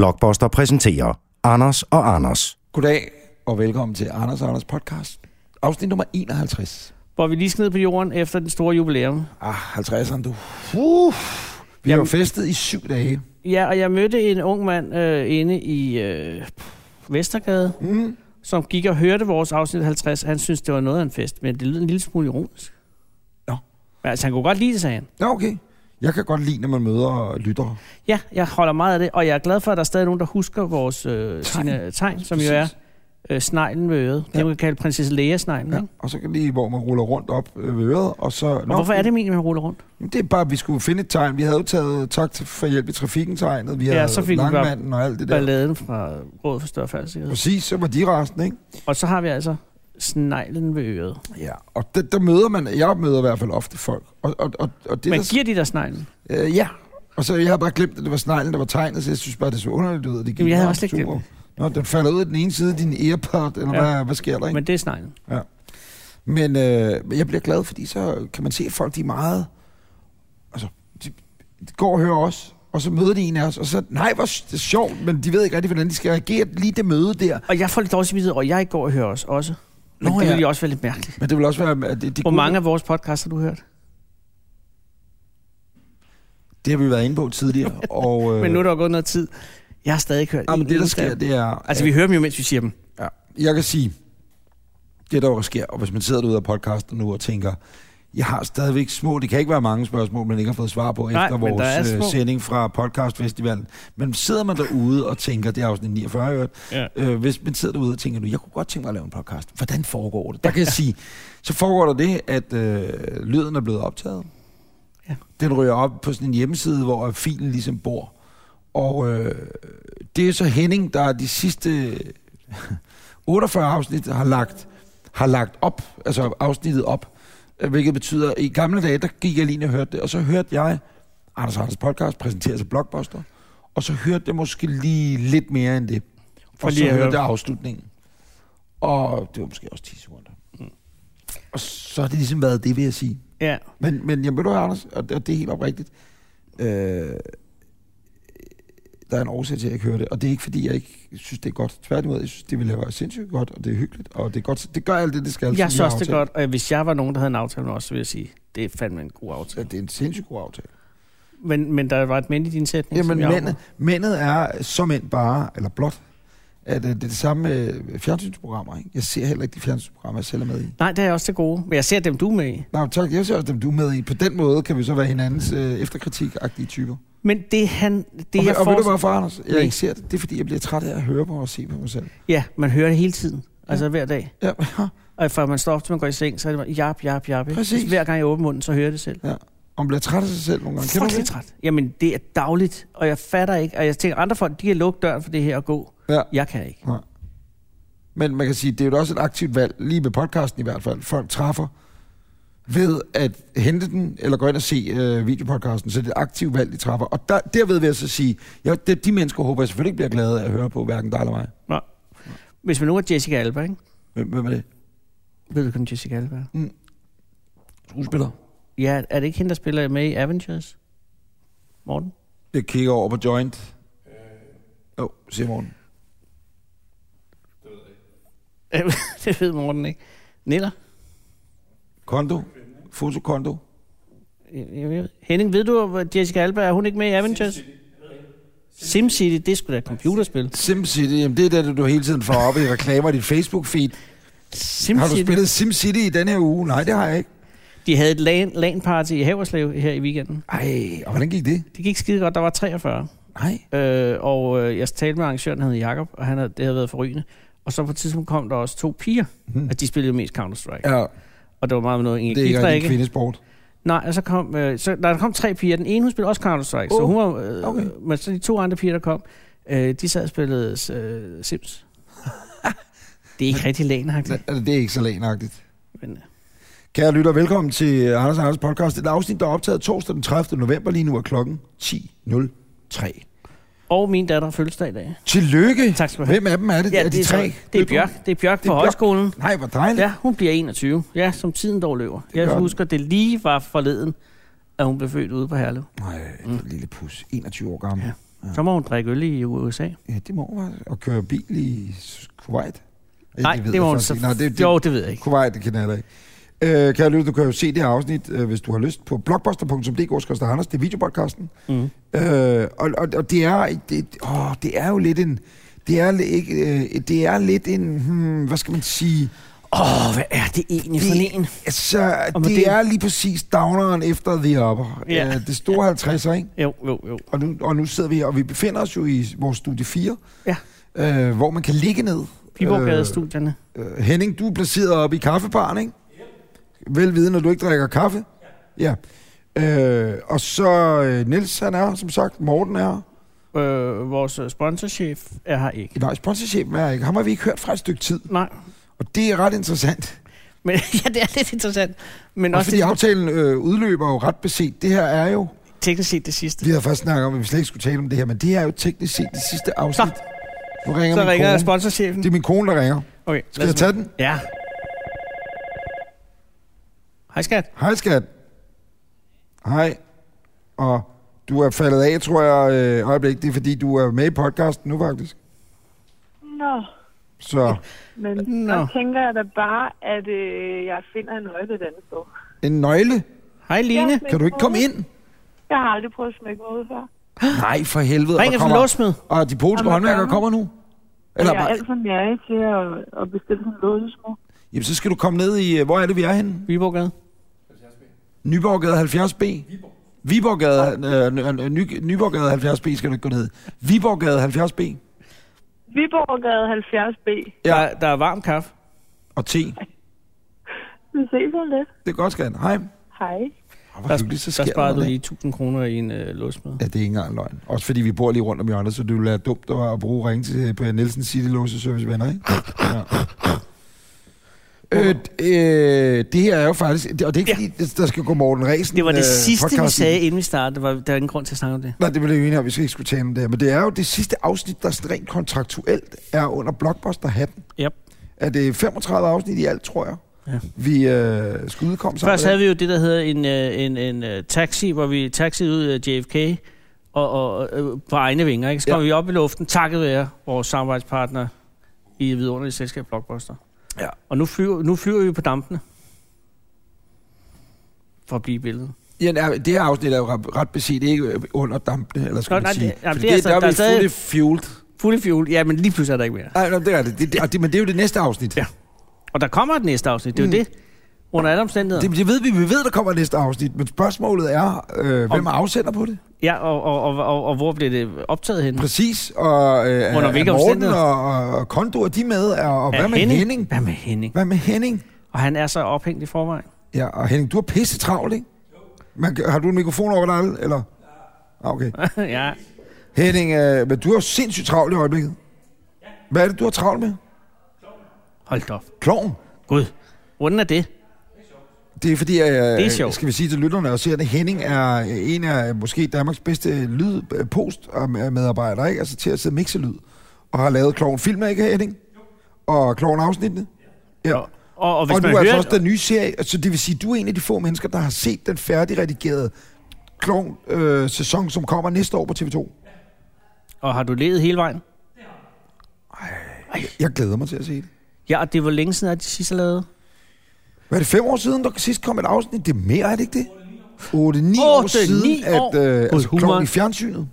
Blockbuster præsenterer Anders og Anders. Goddag og velkommen til Anders og Anders podcast. Afsnit nummer 51. hvor vi lige skal ned på jorden efter den store jubilæum. Ah, 50'eren du. Uh, vi har jo Jamen- festet i syv dage. Ja, og jeg mødte en ung mand øh, inde i øh, Vestergade, Mm. som gik og hørte vores afsnit 50. Han synes det var noget af en fest, men det lød en lille smule ironisk. Nå. Men altså, han kunne godt lide det, sagde han. Ja, okay. Jeg kan godt lide, når man møder lyttere. Ja, jeg holder meget af det, og jeg er glad for, at der er stadig nogen, der husker vores Tegn. øh, tegn. Sine, tegn, som Præcis. jo er øh, sneglen ved øret. Ja. Ja. Det, man kan kalde prinsesse Lea-sneglen, ja. Ja, ikke? og så kan lige, hvor man ruller rundt op øh, ved øret, og så... Og hvorfor er det meningen, at man ruller rundt? Jamen, det er bare, at vi skulle finde et tegn. Vi havde jo taget tak til- for hjælp i trafikken tegnet. Vi Ja, havde så fik vi bare langmanden og alt det der. Balladen fra Rådet for Større Færdssikkerhed. Præcis, så var de resten, ikke? Og så har vi altså sneglen ved øret. Ja, og det, der møder man, jeg møder i hvert fald ofte folk. Og, og, og, og det, Men der, giver de der sneglen? øh, ja, og så jeg havde bare glemt, at det var sneglen, der var tegnet, så jeg synes bare, det så underligt ud, at det gik Jamen, jeg havde meget også lidt super. Nå, den falder ud af den ene side af din earpod, eller ja. Ja. hvad, hvad sker der, ikke? Men det er sneglen. Men, øh, men jeg bliver glad, fordi så kan man se, at folk de er meget... Altså, de, de går og hører os, og så møder de en af os, og så... Nej, hvor s- det er sjovt, men de ved ikke rigtig, hvordan de skal reagere lige det møde der. Og jeg får lidt dårlig samvittighed, og jeg ikke går og hører os også. Men Nå, Nå, det ja. ville jo også være lidt mærkeligt. Men det vil også være... At det, det Hvor mange af vores podcasts har du hørt? Det har vi været inde på tidligere, og... Men nu er der jo gået noget tid. Jeg har stadig ikke hørt Ja, Øh. men en det, der eneste af sker, dem. det er... Altså, vi hører dem jo, mens vi siger dem. Ja, jeg kan sige, det der jo sker, og hvis man sidder derude af podcasten nu og tænker, jeg har stadigvæk små, det kan ikke være mange spørgsmål, man ikke har fået svar på Nej, efter men der er vores øh, små. sending fra podcastfestivalen. Men sidder man derude og tænker, det er afsnit 49 i øvrigt, Ja. øh, hvis man sidder derude og tænker nu, jeg kunne godt tænke mig at lave en podcast. Hvordan foregår det? Der kan jeg sige, så foregår der det, at øh, lyden er blevet optaget. Ja. Den ryger op på sådan en hjemmeside, hvor filen ligesom bor. Og øh, det er så Henning, der de sidste 48 afsnit har lagt, har lagt op, altså afsnittet op. Øh, Hvilket betyder, at i gamle dage, der gik jeg lige ind og hørte det, og så hørte jeg Anders Anders podcast præsentere sig Blockbuster, og så hørte jeg måske lige lidt mere end det. For og lige så at høre- hørte jeg afslutningen. Og det var måske også 10 sekunder. Mm. Og så har det ligesom været det, vil jeg sige. Ja. Men, men jeg mødte Anders, og det, og det er helt oprigtigt. Øh, der er en årsag til, at jeg ikke hører det. Og det er ikke, fordi jeg ikke synes, det er godt. Tværtimod, jeg synes, det ville være sindssygt godt, og det er hyggeligt. Og det, er godt, det gør alt det, det skal. som Jeg vi synes har også, det er aftalt. godt. Og hvis jeg var nogen, der havde en aftale med os, så ville jeg sige, det er fandme en god Ja, aftale. det er en sindssygt god aftale. Men, men der var et mænd i din sætning. Jamen, som jeg mændet, mændet er som end bare, eller blot, at øh, det er det samme med fjernsynsprogrammer. Ikke? Jeg ser heller ikke de fjernsynsprogrammer, jeg selv er med i. Nej, det er jeg også til gode. Men jeg ser dem, du er med i. Nej, tak. Jeg ser også dem, du er med i. På den måde kan vi så være hinandens øh, efterkritik-agtige typer. Men det han... Det, og, og jeg ved du forestiller- hvorfor, Anders? Jeg Nej. ikke ser det. Det er, fordi jeg bliver træt af at høre på og se på mig selv. Ja, man hører det hele tiden. Altså hver dag. Ja, Og fra man står op til man går i seng, så er det bare jap, jap, jap. ikke? Præcis. Hver gang jeg åbner munden, så hører jeg det selv. og man bliver træt af sig selv nogle gange. Kan du frygtelig det? træt. Jamen, det er dagligt, og jeg fatter ikke. Og jeg tænker, andre folk, de kan lukke døren for det her og gå. Ja. Jeg kan ikke. Men man kan sige, det er jo også et aktivt valg, lige med podcasten i hvert fald, folk træffer ved at hente den, eller gå ind og se øh, videopodcasten, så det er et aktivt valg, de træffer. Og der, derved vil jeg så sige, ja, det, de mennesker håber jeg selvfølgelig ikke bliver glade af at høre på, hverken dig eller mig. Hvis man nu er Jessica Alba, ikke? Hvem, hvem er det? Ved du, kun Jessica Alba er? Skuespiller. Ja, er det ikke hende, der spiller med i Avengers? Morten? Jeg kigger over på Joint. Åh, oh, siger morgen. det ved Morten ikke. Niller? Konto. Fotokonto. Jeg- jeg ved- Henning, ved du, hvor Jessica Alba er hun ikke med i Avengers? SimCity, det skulle sgu da et computerspil. SimCity, jamen det er det, du hele tiden får op i reklamer i dit Facebook-feed. Har du SimCity. spillet SimCity i denne her uge? Nej, det har jeg ikke. De havde et LAN- LAN-party i Haverslev her i weekenden. Ej, og hvordan gik det? Det gik skide godt, der var 43. Nej. Øh, og øh, jeg talte med arrangøren, han hed Jacob, og han havde, det havde været forrygende. Og så på et tidspunkt kom der også to piger, Mhm. mm. at de spillede mest Counter-Strike. Ja. Ja, Og det var meget med noget det er ikke rigtig engelsk kvindesport. Nej, og så kom, øh, så, nej, der kom tre piger. Den ene, hun spillede også Counter-Strike, oh. så Oh, hun var, øh, okay. okay. men så de to andre piger, der kom, øh, de sad og spillede øh, Sims. det er ikke rigtig lænagtigt, Altså, det er ikke så lanagtigt. men øh, Kære lytter, velkommen til Anders og Anders podcast. Det er et afsnit, der er optaget torsdag den 30. november. Lige nu er klokken 10.03. Og min datter har fødselsdag i dag. Tillykke. Tak skal du have. Hvem af dem er det? er de det, er tre? så- det er Bjørk. Det er Bjørk Det er på Bjørk. højskolen. Nej, hvor dejligt. Ja, hun bliver 21. Ja, som tiden dog løber. Jeg gør den. husker, det lige var forleden, at hun blev født ude på Herlev. Nej, den lille pus. 21 år gammel. Mm. Ja. Så må hun drikke øl i USA. Ja, det må man. Og køre bil i Kuwait? Ej, Nej, ved det jeg må hun faktisk så... ikke. Nej, det, det, Jo, det ved jeg ikke. Kuwait, det kender jeg da ikke. Øh, kære lytter, du kan jo se det her afsnit, øh, hvis du har lyst, på blogbuster.dk, Skrøster Anders, det er videopodcasten. Mm. Øh, og, og, og det, er, det, åh, det er jo lidt en... Det er, li- ikke, øh, det er lidt en... Hmm, hvad skal man sige? Åh, oh, hvad er det egentlig for Det- en? Altså, Og det, med det det- er lige præcis downeren efter The Upper. Ja. Øh, det store 50'er, ikke? Jo, jo, jo. Og nu, og nu sidder vi her, og vi befinder os jo i vores studie 4, Ja. øh, hvor man kan ligge ned. Viborggade-studierne. Øh, Henning, du er placeret oppe i kaffebaren, ikke? Vel vidende, at du ikke drikker kaffe. Ja. Øh, og så øh, Nils, han er her, som sagt. Morten er her. Øh, vores sponsorchef er her ikke. Nej, sponsorchefen er her ikke. Ham har vi ikke hørt fra et stykke tid. Nej, Og det er ret interessant. men ja, det er lidt interessant. Men Også, også fordi det, aftalen øh, udløber jo ret beset. Det her er jo... teknisk set det sidste. Vi havde først snakket om, at vi slet ikke skulle tale om det her, men det her er jo teknisk set det sidste afsnit. Så. Nu ringer Så min ringer kone. sponsorchefen. Det er min kone, der ringer. Okay, Skal jeg tage den? Ja. Hej skat. Hej, skat. Hej. Og du er faldet af, tror jeg, øh, øjeblik. Det er, fordi du er med i podcasten nu, faktisk. Nå, Så men Nå. så tænker jeg da bare, at øh, jeg finder en nøgle et andet sted. en nøgle. Hej Line. Ja. Kan du ikke komme ind? Jeg har aldrig prøvet at smække mig ud før. Nej, for helvede. Ring og, efter kommer, låsmed. og de polske Jamen, håndværkere gerne. kommer nu. Eller Eller jeg er bare, alt for nærig til at, at bestille sådan en låsesmå. jamen, så skal du komme ned i... øh, Hvor er det, vi er henne? Viborggade. Nyborggade 70B? Viborggade, øh, øh, Ny, Nyborggade 70B skal du ikke gå ned. Viborggade 70B Viborggade 70B. Ja. Ja. Der, der er varm kaffe. og T. Det Vi ses om lidt. er godt, skat. Hej. Hej. Oh, Der, der sparer du lige 1000 kroner i en øh, låsmed. Ja, det er ikke engang løgn. Også fordi vi bor lige rundt om hjørnet, så det ville være dumt at at bruge ringe til Per Nielsen City Låseservice venner, ikke? Ja. Øh, d- øh, det her er jo faktisk... det- Og det er ikke, Ja. fordi det- der skal gå Morten Ræsen Det var det øh, sidste, vi podcast i. sagde, inden vi startede. Det var, der er ingen grund til at snakke om det. Nej, det blev vi enige om, vi skal ikke skulle tale om det her. Men det er jo det sidste afsnit, der sådan rent kontraktuelt er under Blockbuster-hatten. Yep. Er det 35 afsnit i alt, tror jeg, Ja. vi øh, skulle udkomme sammen Først havde vi jo det, der hedder en, øh, en, en øh, taxi, hvor vi taxiede ud øh, af JFK og, og, øh, på egne vinger. Ikke? Så kom Ja. ja. vi op i luften, takket være vores samarbejdspartner i vidunderlige selskab Blockbuster. Ja. Og nu flyver, nu flyver vi på dampene. For at blive i billedet. Ja, nej, det her afsnit er jo ret, ret beset ikke øh, under dampene, eller skal Nå, man nej, sige. det- jamen, Fordi det er altså- der, der er er vi fully stadig- fueled. Fuld i fjul. Ja, men lige pludselig er der ikke mere. Nej, nej, det er det. det, det, og det. Men det er jo det næste afsnit. Ja. Og der kommer et næste afsnit. Det er jo det. Under alle omstændigheder. Mm. Det, det ved vi. Vi ved, der kommer et næste afsnit. Men spørgsmålet er, øh, hvem er afsender på det? Ja, og, og, og, og, og hvor bliver det optaget henne? Præcis. Og øh, er- Under hvilke er Morten omstændigheder? og, og, og Kondo, er de med? Og, og Af hvad med Henning? Henning? Hvad med Henning? Hvad med Henning? Og han er så ophængt i forvejen. Ja, og Henning, du har pisse travlt, ikke? Man, kan- har du en mikrofon over dig, eller? Ah, Okay. ja. Henning, øh, men du har sindssygt travlt i øjeblikket. Hvad er det, du har travlt med? Hold da op. Kloven. Gud. Hvordan er det? Det er fordi, øh, er sjovt. skal vi sige til lytterne og se, at Henning er øh, en af øh, måske Danmarks bedste øh, lydpost-medarbejdere, ikke? Altså til at sidde og mixe lyd. Og har lavet kloven film, ikke Henning? Og kloven afsnittene. Ja. Og, og, og hvis Og man nu er hører... altså også den nye serie, så det vil sige, at du er en af de få mennesker, der har set den færdigredigerede kloven øh, sæson, som kommer næste år på TV2. Og har du levet hele vejen? Jeg glæder mig til at se det. Ja, og det var længe siden, at de sidste lavede. Hvad er det, fem år siden, der sidst kom et afsnit? Det er mere, er det ikke det? 8-9 år Otte, ni siden, år. at øh, altså, Humoren. kloven i fjernsynet.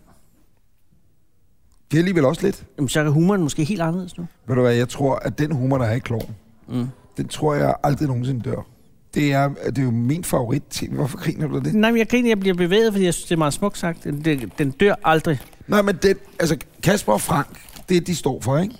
Det er alligevel også lidt. Jamen, så er humoren måske helt anderledes nu. Ved du hvad, jeg tror, at den humor, der er i kloven, Mm. den tror jeg aldrig nogensinde dør. Det er, det er jo min favorit TV. Hvorfor griner du af det? Nej, men jeg griner, jeg bliver bevæget, fordi jeg synes, det er meget smukt sagt. Den, den- den dør aldrig. Nej, men den, altså Kasper og Frank, det er de står for, ikke?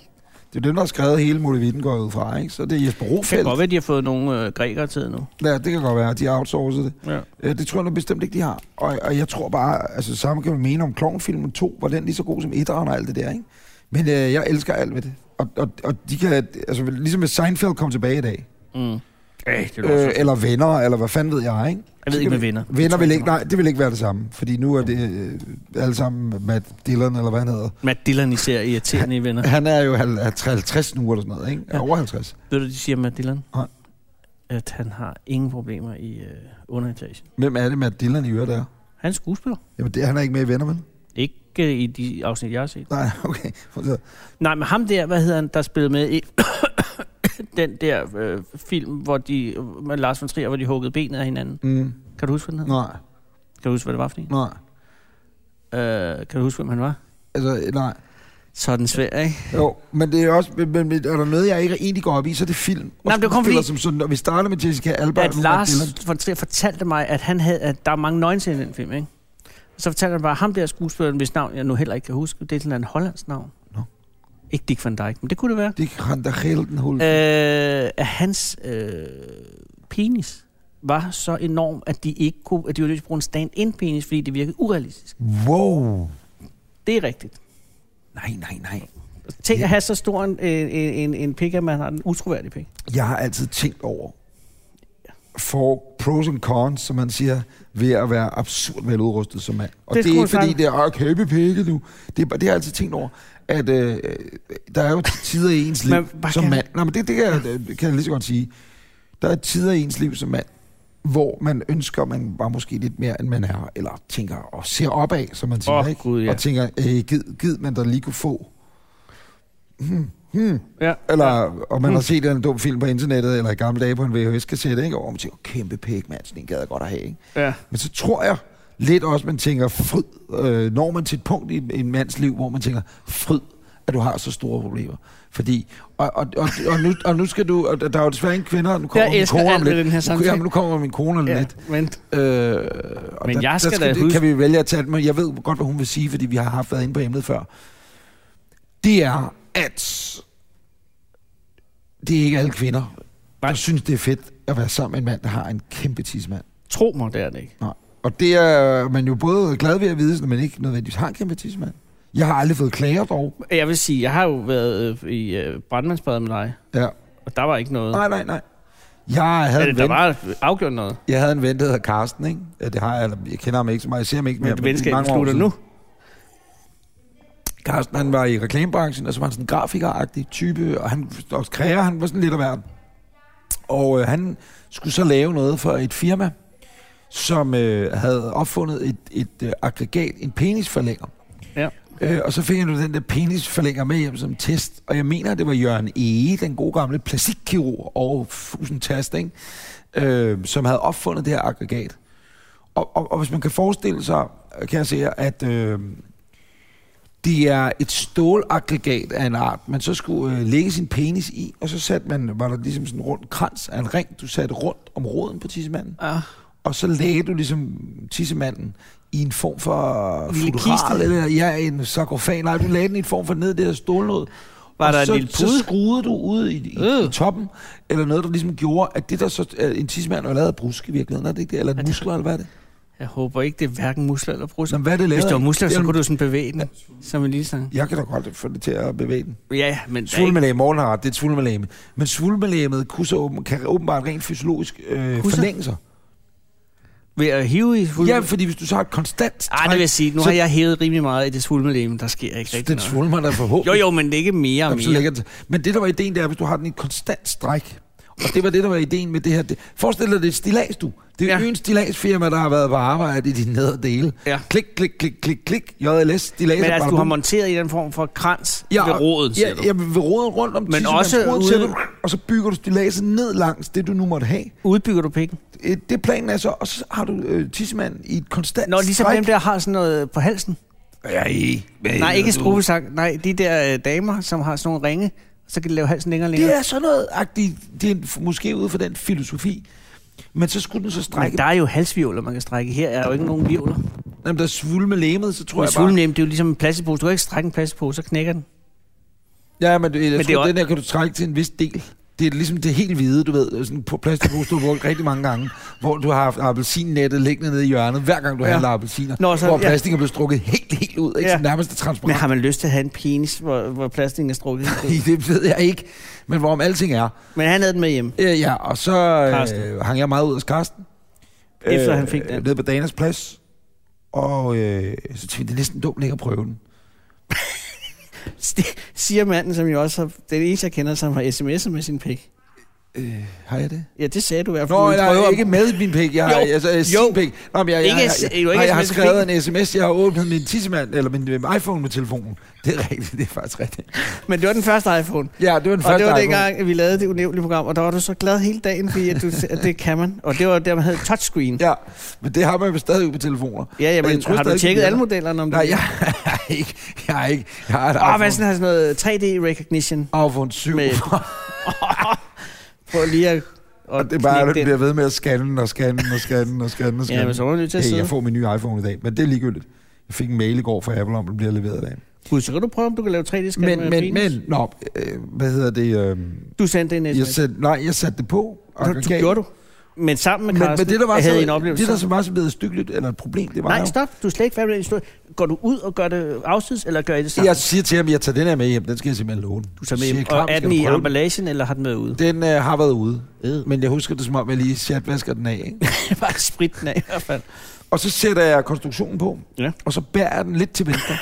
Det er dem, der har skrevet hele Molevitten går jeg ud fra, ikke? Så det er Jesper Det kan Rofeldt. godt være, at de har fået nogle øh, grækere til nu. Ja, det kan godt være, de har outsourcet det. Ja. Øh, Det tror jeg nu bestemt ikke, de har. Og, og jeg tror bare, altså samme kan man mene om Klovnfilmen 2, var den lige så god som 1'eren og alt det der, ikke? Men øh, jeg elsker alt ved det. Og, og, og de kan, altså ligesom hvis Seinfeld kom tilbage i dag, Mm. Æh, det lyder øh, øh, eller venner, eller hvad fanden ved jeg, ikke? Jeg ved ikke med venner. Venner vil ikke, nej, det vil ikke være det samme, fordi nu er det øh, alle sammen Matt Dillon, eller hvad han hedder. Matt Dillon især irriterende i venner. Han er jo hal- er 50 nu eller sådan noget, ikke? Ja. Over 50. Ved du, de siger om Matt Dillon? Nej. At han har ingen problemer i øh, underetagen. Hvem er det, Matt Dillon i øvrigt er? Han er skuespiller. Jamen, det, han er ikke med i Venner, vel? Ikke øh, i de afsnit, jeg har set. Nej, okay. Så- Nej, men ham der, hvad hedder han, der spillede med i den der øh, film, hvor de, med Lars von Trier, hvor de huggede benet af hinanden. Mm, Kan du huske, hvad den hed? nej, Kan du huske, hvad det var for en? nej. Øh, kan du huske, hvem han var? Altså, nej. Så er den svær, ikke? Jo, men det er også, men, men, men er der noget, jeg ikke egentlig går op i, så er det film. Og Nej, men det var kun skuespillere fordi- Som sådan, når vi starter med Jessica Alba... At og Mark Dillon. Lars von Trier fortalte mig, at, han havde, at der er mange nøgenscener i den film, ikke? Så fortalte han bare, ham der skuespilleren, hvis navn jeg nu heller ikke kan huske, det er sådan en hollandsk navn. Nå. Ikke Dick van Dyke, men det kunne det være. Det kan der hele den hul. Øh, at hans øh, penis var så enorm, at de ikke kunne, at de var nødt til at bruge en stand-in penis, fordi det virkede urealistisk. Wow. Det er rigtigt. Nej, nej, nej. Tænk at have så stor en, en, en, en pik, at man har en utroværdig pik. Jeg har altid tænkt over for pros and cons, som man siger, ved at være absurd veludrustet som mand. Og Det det, det er skulle ikke fordi, jeg det er "Åh, kæmpe pikke nu. Det, er, bare- det har jeg altid tænkt over, at øh, der er jo tider i ens liv Man bare som kan- mand. Nej, men det, det kan, jeg, det kan jeg lige så godt sige. Der er tider i ens liv som mand, hvor man ønsker, man var måske lidt mere, end man er, eller tænker og ser opad, som man siger, Åh, ikke? Gud, ja. og tænker, øh, gid, gid man der lige kunne få Ja. Mm. eller om man har set en dum film på internettet, eller i gamle dage på en VHS-kassette, ikke? Og hvor man tænker, kæmpe pæk, mand, sådan en gad jeg godt at have, ikke? ja. Men så tror jeg lidt også, man tænker, fryd, øh, når man til et punkt i en mands liv, hvor man tænker, fryd, at du har så store problemer. Fordi, og, og, og, og, nu, og nu skal du, og der er jo desværre ingen kvinder, og nu kommer Jeg min elsker kone om alt ved lidt. den her nu, samtale. jamen, nu kommer min kone om ja. lidt. Vent. Øh, og Men jeg skal da det, huske- kan vi vælge at tage det med. Jeg ved godt, hvad hun vil sige, fordi vi har haft været inde på emnet før. Det er, at det er ikke alle kvinder, Nej. der synes, det er fedt at være sammen med en mand, der har en kæmpe tidsmand. Tro mig, det er det ikke. Nej. Og det er man jo både glad ved at vide, når man ikke nødvendigvis har en kæmpe tidsmand. Jeg har aldrig fået klager dog. Jeg vil sige, jeg har jo været øh, i øh, brandmandsbadet med dig, Ja. og der var ikke noget. Nej, nej, nej. Jeg havde, Eller, en der ven, var afgjort noget. jeg havde en ven, der hedder Karsten, ikke? Ja, Det har jeg, eller jeg kender ham ikke så meget, jeg ser ham ikke mere. Men det det er venskab mange år slutter siden. nu. Carsten, han var i reklamebranchen, og så var han sådan en grafikeragtig type, og han og kræver, han var sådan lidt af verden. Og øh, han skulle så lave noget for et firma, som øh, havde opfundet et, et øh, aggregat, en penisforlænger. Ja. Øh, og så fik han jo den der penisforlænger med hjem som test, og jeg mener, det var Jørgen Ege, den gode gamle plastikkirurg over Fusen Tast, ikke? Øh, som havde opfundet det her aggregat. Og, og, og hvis man kan forestille sig, kan jeg sige, at øh, det er et stålaggregat af en art, man så skulle øh, lægge sin penis i, og så satte man, var der ligesom sådan en rund krans af en ring, du satte rundt om roden på tissemanden, Ah. og så lagde du ligesom tissemanden i en form for Lille futural, kiste. eller ja, en sarkofag, nej, du lagde den i en form for ned i det her stålnåd. Var og der en så, lille så pude? skruede du ud i, i, Øh. i, toppen, eller noget, der ligesom gjorde, at det der så, øh, en tissemand var lavet af brusk i virkeligheden, er det ikke det? Eller muskler, eller hvad er det? Jeg håber ikke, det er hverken musler eller brusser. Nå, hvad er det lavet Hvis det var af? musler, så Jamen- kunne du sådan bevæge den, som en lille sang. Jeg kan da godt få det til at bevæge den. Ja, men der er ikke... Svulmelæme, Morten har ret, det er et svulmelæme. Men svulmelæmet kunne så åben, kan åbenbart rent fysiologisk øh, Kunne så? forlænge sig. ved at hive i svulmen. Ja, fordi hvis du så har et konstant Ej, Ah, det vil jeg sige. Nu så- har jeg hævet rimelig meget i det svulmelem. Der sker ikke så rigtig den noget. svulmer der Jo, forhåbentlig. jo, men det er ikke mere og Jamen, så mere. lægger den. Men det, der var ideen, det er, hvis du har den i et konstant stræk. Og det var det, der var ideen med det her. Det, forestil dig, det er et stilas, du. Det er Ja. ja. øens stilagsfirma, der har været på arbejde i de nedre dele. Ja. Klik, klik, klik, klik, klik. JLS, stilas. Men altså, du har monteret i den form for krans ja, ved roden, siger ja, du. Ja, ved roden rundt om Men tissemandens også rod, ude- sætter du- og så bygger du stilaset ned langs det, du nu måtte have. Udbygger du pikken? Øh, det planen er så, og så har du øh, tissemanden i et konstant Nå, ligesom stræk. dem der har sådan noget på halsen. Ej, hvad Nej, ikke hedder du? strubesang. Nej, de der øh, damer, som har sådan nogle ringe, så kan de lave halsen længere og længere. Det er sådan noget, agtigt, det er f- måske ud fra den filosofi. Men så skulle den så Men strække. der er jo halsvivler, man kan strække. Her er jo ikke nogen vivler. Jamen, der svulme læmet, så tror Men jeg bare... svulmen, det er jo ligesom en plastikpose. Du kan ikke strække en plastikpose, så knækker den. Ja, men, du, jeg men det tror, er det også- den her kan du trække til en vis del. Det er ligesom det helt hvide, du ved, sådan på plastikpose, du har brugt rigtig mange gange, hvor du har haft appelsinnettet liggende nede i hjørnet, hver gang du Ja. ja. handler appelsiner, Nå, så- hvor ja. plastik er blevet strukket helt, helt ud, ikke? Ja. Ja. Så nærmest er Men transparent. har man lyst til at have en penis, hvor, hvor plastikken er strukket? helt ud? Nej, det ved jeg ikke, men hvorom alting er. Men han havde den med hjemme. Øh, ja, og så Karsten. øh, hang jeg meget ud hos Karsten. Øh, Efter han fik den. Nede på Danas Plads. Og øh, så tænkte jeg, det er næsten dumt ikke at prøve den. Det siger manden, som jo også har, det er det eneste, jeg kender, som har sms'er med sin pik. Øh, har jeg det? Ja, det sagde du i hvert fald. Nå, du jeg prøver- er ikke med min pik. Jeg har, Jo, altså, øh, jo. sin pik. Nå, men jeg, jeg, Ikke jeg, s- jeg, det er jo jeg, ikke nej, jeg har sms-pik. skrevet en sms. Jeg har åbnet min tissemand, eller min øh, iPhone med telefonen. Det er rigtigt, det er faktisk rigtigt. Men det var den første iPhone. Ja, det var den første Og det var iPhone. dengang, at vi lavede det unævnlige program, og der var du så glad hele dagen, fordi at, du, at det kan man. Og det var der, man havde touchscreen. Ja, Ja, men det har man jo stadig på telefoner. ja, ja Og men jeg tror har du stadig, tjekket det er alle der. modellerne? Om Nej, du... jeg har ikke. Jeg har ikke. Jeg har et Åh, iPhone, hvad sådan har sådan noget 3D recognition. iPhone 7. Med- Prøv lige at Og det er bare, at du bliver ved med at scanne og scanne og scanne og scanne og scanne. Ja, men så var du nødt til at hey, sidde. jeg får min nye iPhone i dag, men det er ligegyldigt. Jeg fik en mail i går fra Apple om, at den bliver leveret i dag. Gud, så kan du prøve, om du kan lave 3D-scan Men, med men, penis. men, nå, øh, hvad hedder det? Øh, Du sendte en jeg sms. satte, nej, jeg satte det på. Og Du, du gav- gjorde du. Men sammen med Men, men Carsten, det, der var jeg så, havde en oplevelse. det, der så var så blevet stykkeligt, eller et problem, det var Nej, jo- stop. Du er slet ikke færdig med den historie. Går du ud og gør det afsides, eller gør I det sammen? Jeg siger til ham, at jeg tager den her med hjem. Den skal jeg simpelthen låne. du tager Siger med jeg, hjem. Kram, Og er skal den du i prøve den? emballagen, eller har den været ude? Den øh, har været ude. Øh. Men jeg husker det som om, jeg lige sjatvasker den af. Ikke? Det var spritten af i hvert fald. Og så sætter jeg konstruktionen på, Ja. og så bærer jeg den lidt til venstre.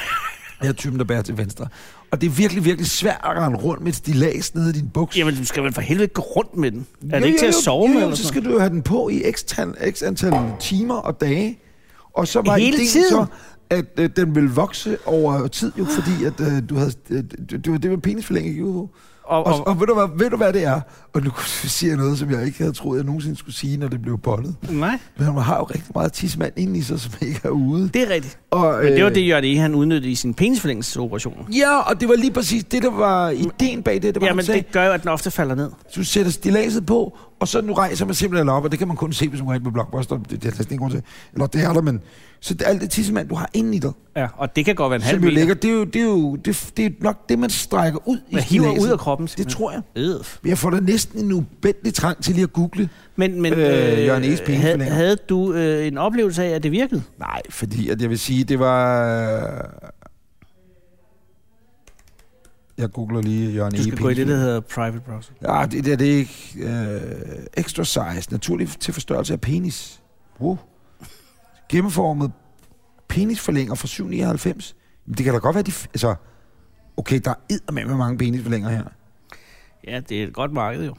Jeg er typen, der bærer til venstre. Og det er virkelig, virkelig svært at rende rundt med et stilas nede i din buks. Jamen, du skal vel for helvede gå rundt med den. Er det Jo, ikke jo, til at jo, sove jo, med? jo, eller så sådan skal du jo have den på i x, tan, x antal timer og dage. Og så var Hele ideen tiden? så, at øh, den ville vokse over tid, jo, fordi at, øh, du havde, øh, det, det var det, var penisforlænge gik ud på. Og, Og- og- og, og ved, du hvad, ved du, hvad det er? Og nu siger jeg noget, som jeg ikke havde troet, jeg nogensinde skulle sige, når det blev bollet. noget? Nej, Men hun har jo rigtig meget tidsmand inde i sig, som ikke er ude. det er rigtigt. Og, Men det var øh, det, Jørgen E. han udnyttede i sin penisforlængelsesoperation. Ja, og det var lige præcis det, der var ideen bag det. Det var, Jamen, Jamen, sagde, det gør jo, at den ofte falder ned. det... du sætter stilaset på, og så nu rejser man simpelthen op, og det kan man kun se, hvis man går ind på Blockbuster. Det, det er der ingen grund til. Eller det er der, men... Så det, alt det tidsmand, du har inde i dig, Ja, og det kan godt være en halv som jo meter. ligger, det er jo, det er jo det, det er nok det, man strækker ud Man i hiver stilladset. ud af kroppen, Det simpelthen. tror jeg. Øh. Men jeg får da næsten en ubændelig trang til lige at google. Men, men Øh, Jørgen E's havde, penisforlænger. havde du øh, en oplevelse af, at det virkede? Nej, fordi at jeg vil sige, det var... Jeg googler lige Jørgen Du skal Epins gå i det, der film. hedder private browser. Ja, det, det, det er ikke øh, extra size. Naturlig til forstørrelse af penis. Wow. Gennemformet penisforlænger fra 799. Men det kan da godt være, de... f- Altså, okay, der er med mange penisforlænger her. Ja, det er et godt marked jo.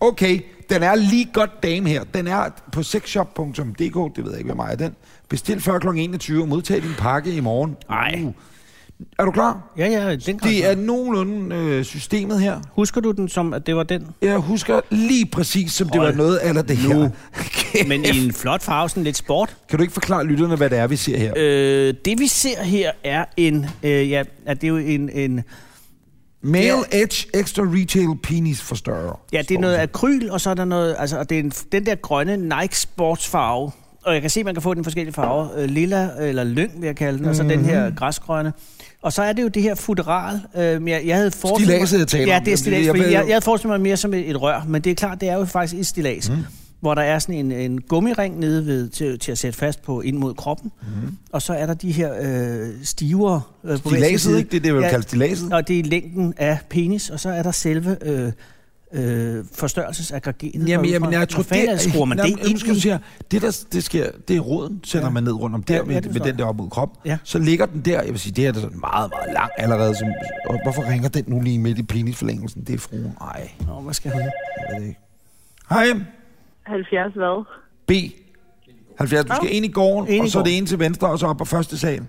Okay, den er lige godt dame her. Den er på sexshop.dk, det ved jeg ikke, hvad mig er den. Bestil før kl. 21 og modtag din pakke i morgen. Ej. Uh. Er du klar? Ja, ja, den kan Det er nogenlunde øh, systemet her. Husker du den som, at det var den? Jeg husker lige præcis, som det Hold var noget af det her. Men i en flot farve, sådan lidt sport. Kan du ikke forklare lytterne, hvad det er, vi ser her? Øh, det vi ser her er en, øh, ja, er det er jo en, en, Male Øh, Edge Extra Retail Penis Forstørrer. Ja, det er noget akryl, og så er der noget, altså, og det er en, den der grønne Nike sportsfarve. Og jeg kan se, at man kan få den i forskellige farver. Øh, lilla, eller lyng, vil jeg kalde den, og så den Mhm. her græsgrønne. Og så er det jo det her futural. Øh, men jeg, jeg havde forestillet mig- Stilladset, jeg taler Ja, om. det er Jeg- stilas, jeg fordi ved jeg, jo- jeg havde forestillet mig mere som et, et rør, men det er klart, det er jo faktisk et stilas. Mhm. Mm. Hvor der er sådan en, en gummiring nede ved, til, til at sætte fast på ind mod kroppen. Mhm. Mm. Og så er der de her øh, stivere øh, på hver sin Stilaset, side. ikke? Det er det, man ja. kalder stilaset. Og det er længden af penis, og så er der selve øh, øh, forstørrelsesaggregenet. Jamen, derudfra. jamen, jeg tror, Hvor fanden det skruer man Nå, det men nu ind skal du i? sige, det, der det sker, det er råden, sætter Ja. man ned rundt om Ja, der, ja, med, det med forstår den der op mod kroppen. Ja. Så ligger den der, jeg vil sige, det her det er sådan meget, meget lang allerede. Som, og hvorfor ringer den nu lige midt i penisforlængelsen? Det er fruen. Ej, Nå, hvad skal hun? jeg ved det ikke. Hej, 70 hvad? B. 70, du skal ind i gården, Ind i og så er det gården. en til venstre, og så op på første sal.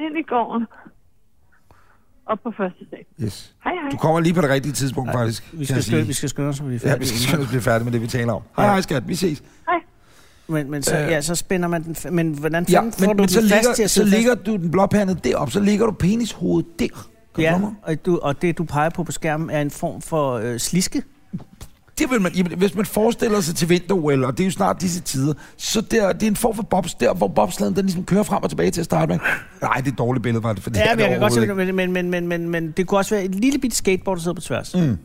Ind i gården. Op på første dag. Yes. Hej, hej. Du kommer lige på det rigtige tidspunkt, faktisk. Vi kan jeg skal, skynde, sige. vi skal skynde os, så vi Ja, er vi skal færdige. selvfølgelig blive færdige med det, vi taler om. Hej, Ja. hej skat, vi ses. men, men så, Øh. ja, så spænder man den... fa- Men hvordan Ja, fanden men, får du men så, den fast til ligger, at så sidde fast? ligger du den blåpandet derop, så ligger du penishovedet der. Kan ja. Ja, og, du, og det, du peger på på skærmen, er en form for øh, sliske. Det vil man, jamen, hvis man forestiller sig til vinter -OL, og det er jo snart disse tider, så der, det er en form for bobs, der hvor bobsladen den ligesom kører frem og tilbage til at starte med. Nej, det er et dårligt billede, var det, for det Ja, er men jeg kan godt overhovedet se, ikke. men, men, men, men, men, men det kunne også være et lille bitte skateboard, der sidder på tværs. Mm.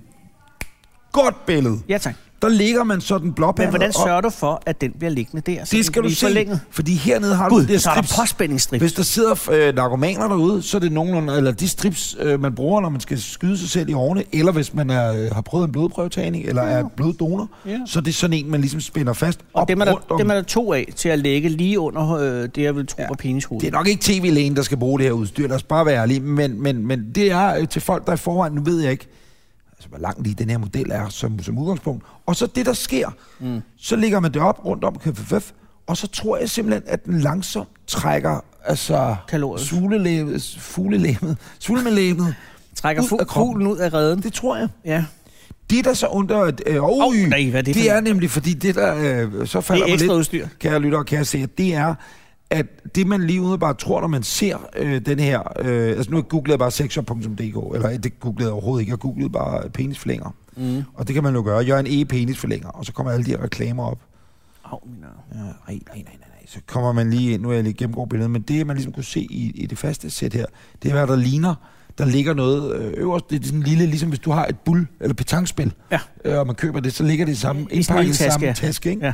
Godt billede. Ja, tak. Der ligger man så den blåpandet Men hvordan op. sørger du for, at den bliver liggende der? så den Det skal kan du blive se, Forlænget? fordi hernede har du... Gud, det så er der strips. påspændingsstrip. Hvis der sidder øh, narkomaner derude, så er det nogenlunde, eller de strips, øh, man bruger, når man skal skyde sig selv i årene, eller hvis man er, øh, har prøvet en blodprøvetagning, eller er bloddonor, Ja. ja. så er det sådan en, man ligesom spænder fast Og dem er, rundt der, om. dem er der to af til at lægge lige under øh, det, jeg vil tro ja. Ja. var penishovedet. Det er nok ikke tv-lægen, der skal bruge det her udstyr, lad os bare være ærlige, men, men, men det er øh, til folk, der i forvejen, nu ved jeg ikke, altså hvor lang lige den her model er som, som udgangspunkt. Og så det, der sker, mm. så ligger man det op rundt om KFF, og så tror jeg simpelthen, at den langsomt trækker altså Kalorier. sulelæbet, fuglelæbet, sulmelæbet Trækker ud af fu- kroppen. fuglen ud af redden. Det tror jeg. Ja. Det, der så undrer... at, Øh, oh, Åh, nej, hvad er det det, for det er en- nemlig, fordi det, der øh, så falder Det mig er ekstra lidt, udstyr. kære lytter og kære seere, det er, at det, man lige umiddelbart tror, når man ser øh, den her... Øh, altså, nu googlede jeg bare sexshop.dk, eller øh, det googlede jeg overhovedet ikke, jeg googlede bare penisforlænger. Mm. Og det kan man jo gøre. Jørgen E. penisforlænger, og så kommer alle de her reklamer op. Au, min arm. Ja, nej, nej, nej, nej. nej. Så kommer man lige ind, nu er jeg lige gennemgår billedet, men det, man ligesom kunne se i, i det faste sæt her, det er, hvad der ligner. Der ligger noget øh, øverst, det er sådan en lille, ligesom hvis du har et bull eller petangspil, Ja. øh, og man køber det, så ligger det i samme, I sådan indpakket i en lille samme taske, ja. taske, ikke? Ja.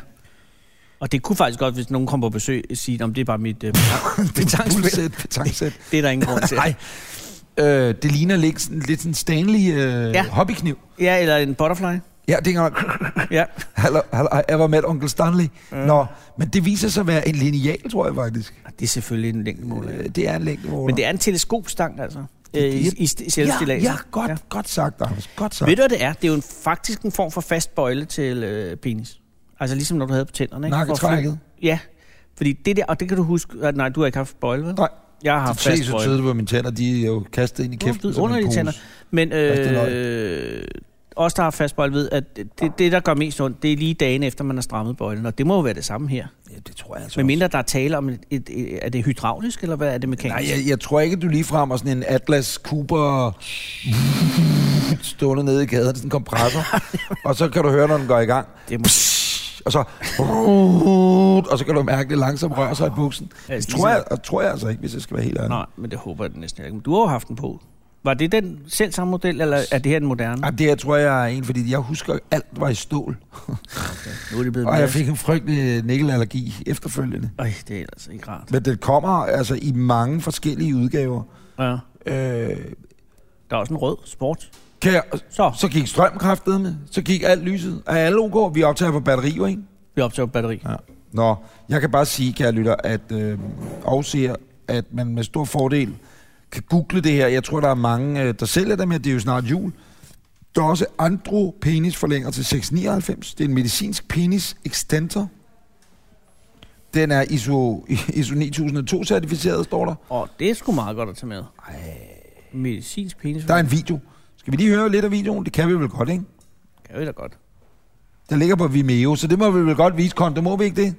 Og det kunne faktisk godt, hvis nogen kom på besøg, sige, om det er bare mit... det Øh, er et Petangsæt. bullsæt, petangsæt. det er der ingen grund til. Nej, øh, det ligner lidt sådan, lidt sådan en Stanley øh, ja. Ja. hobbykniv. Ja, eller en butterfly. Ja, det er engang, Ja. hallo, hallo, I ever met Uncle Stanley. Nå, men det viser sig at være en lineal, tror jeg faktisk. Det er selvfølgelig en længdemåler. Øh, det er en længdemåler. Men det er en teleskopstang, altså. Øh, I, i st- ja, selvstillaget. ja, godt, ja. godt sagt, Anders. Godt sagt. Ved du, hvad det er? Det er jo en, faktisk en form for fast bøjle til øh, penis. Altså ligesom når du havde på tænderne. Ikke? Nakketrækket. For- Ja. Fordi det der, og det kan du huske, at nej, du har ikke haft bøjle, vel? Nej. Jeg har haft Se Ah, fast så bøjle. tydeligt på mine tænder, de er jo kastet ind i Kæft, kæften det som en under de pose. tænder. Men Rigtig løg. øh, os, der har fast bøjle, ved, at det, det, der gør mest ondt, det er lige dagen efter, man har strammet bøjlen. Og det må jo være det samme her. Ja, det tror jeg altså Men mindre der er tale om, et, et, et, er det hydraulisk, eller hvad er det også. mekanisk? Nej, jeg, jeg tror ikke, du ligefrem er sådan en Atlas Cooper stående nede i gaden, sådan en kompressor. og så kan du høre, når den går i gang. Det må... Og så... Og så kan du mærke, det langsomt rører sig i buksen. Ja, Det det tror er- jeg, og tror jeg altså ikke, hvis jeg skal være helt ærlig. Nej, men det håber jeg da næsten ikke. Men du har jo haft den på. Var det den selv samme model, eller er det her den moderne? Jamen, det her tror jeg er en, fordi jeg husker, at alt var i stål. Nu er det blevet Og mere- jeg fik en frygtelig nikkelallergi efterfølgende. Øj, det er altså ikke rart. Men den kommer altså i mange forskellige udgaver. Ja. Øh, Der er også en rød sport. kan jeg, Så, så gik strømkraftet med, så gik alt lyset. Er alle OK? Vi optager på batterier, ikke? vi optager batteri. Ja. Nå, jeg kan bare sige, kære lytter, at øh, afser, at man med stor fordel kan google det her. Jeg tror, der er mange, øh, der sælger dem her. Det er jo snart jul. Der er også andre penisforlænger til 699. Det er en medicinsk penis extender. Den er ISO, ISO 9002-certificeret, står der. Og det er sgu meget godt at tage med. Ej. Medicinsk penis. Der er en video. Skal vi lige høre lidt af videoen? Det kan vi vel godt, ikke? Kan vi da godt. Den ligger på Vimeo, så det må vi vel godt vise, Kon. Det må vi ikke det?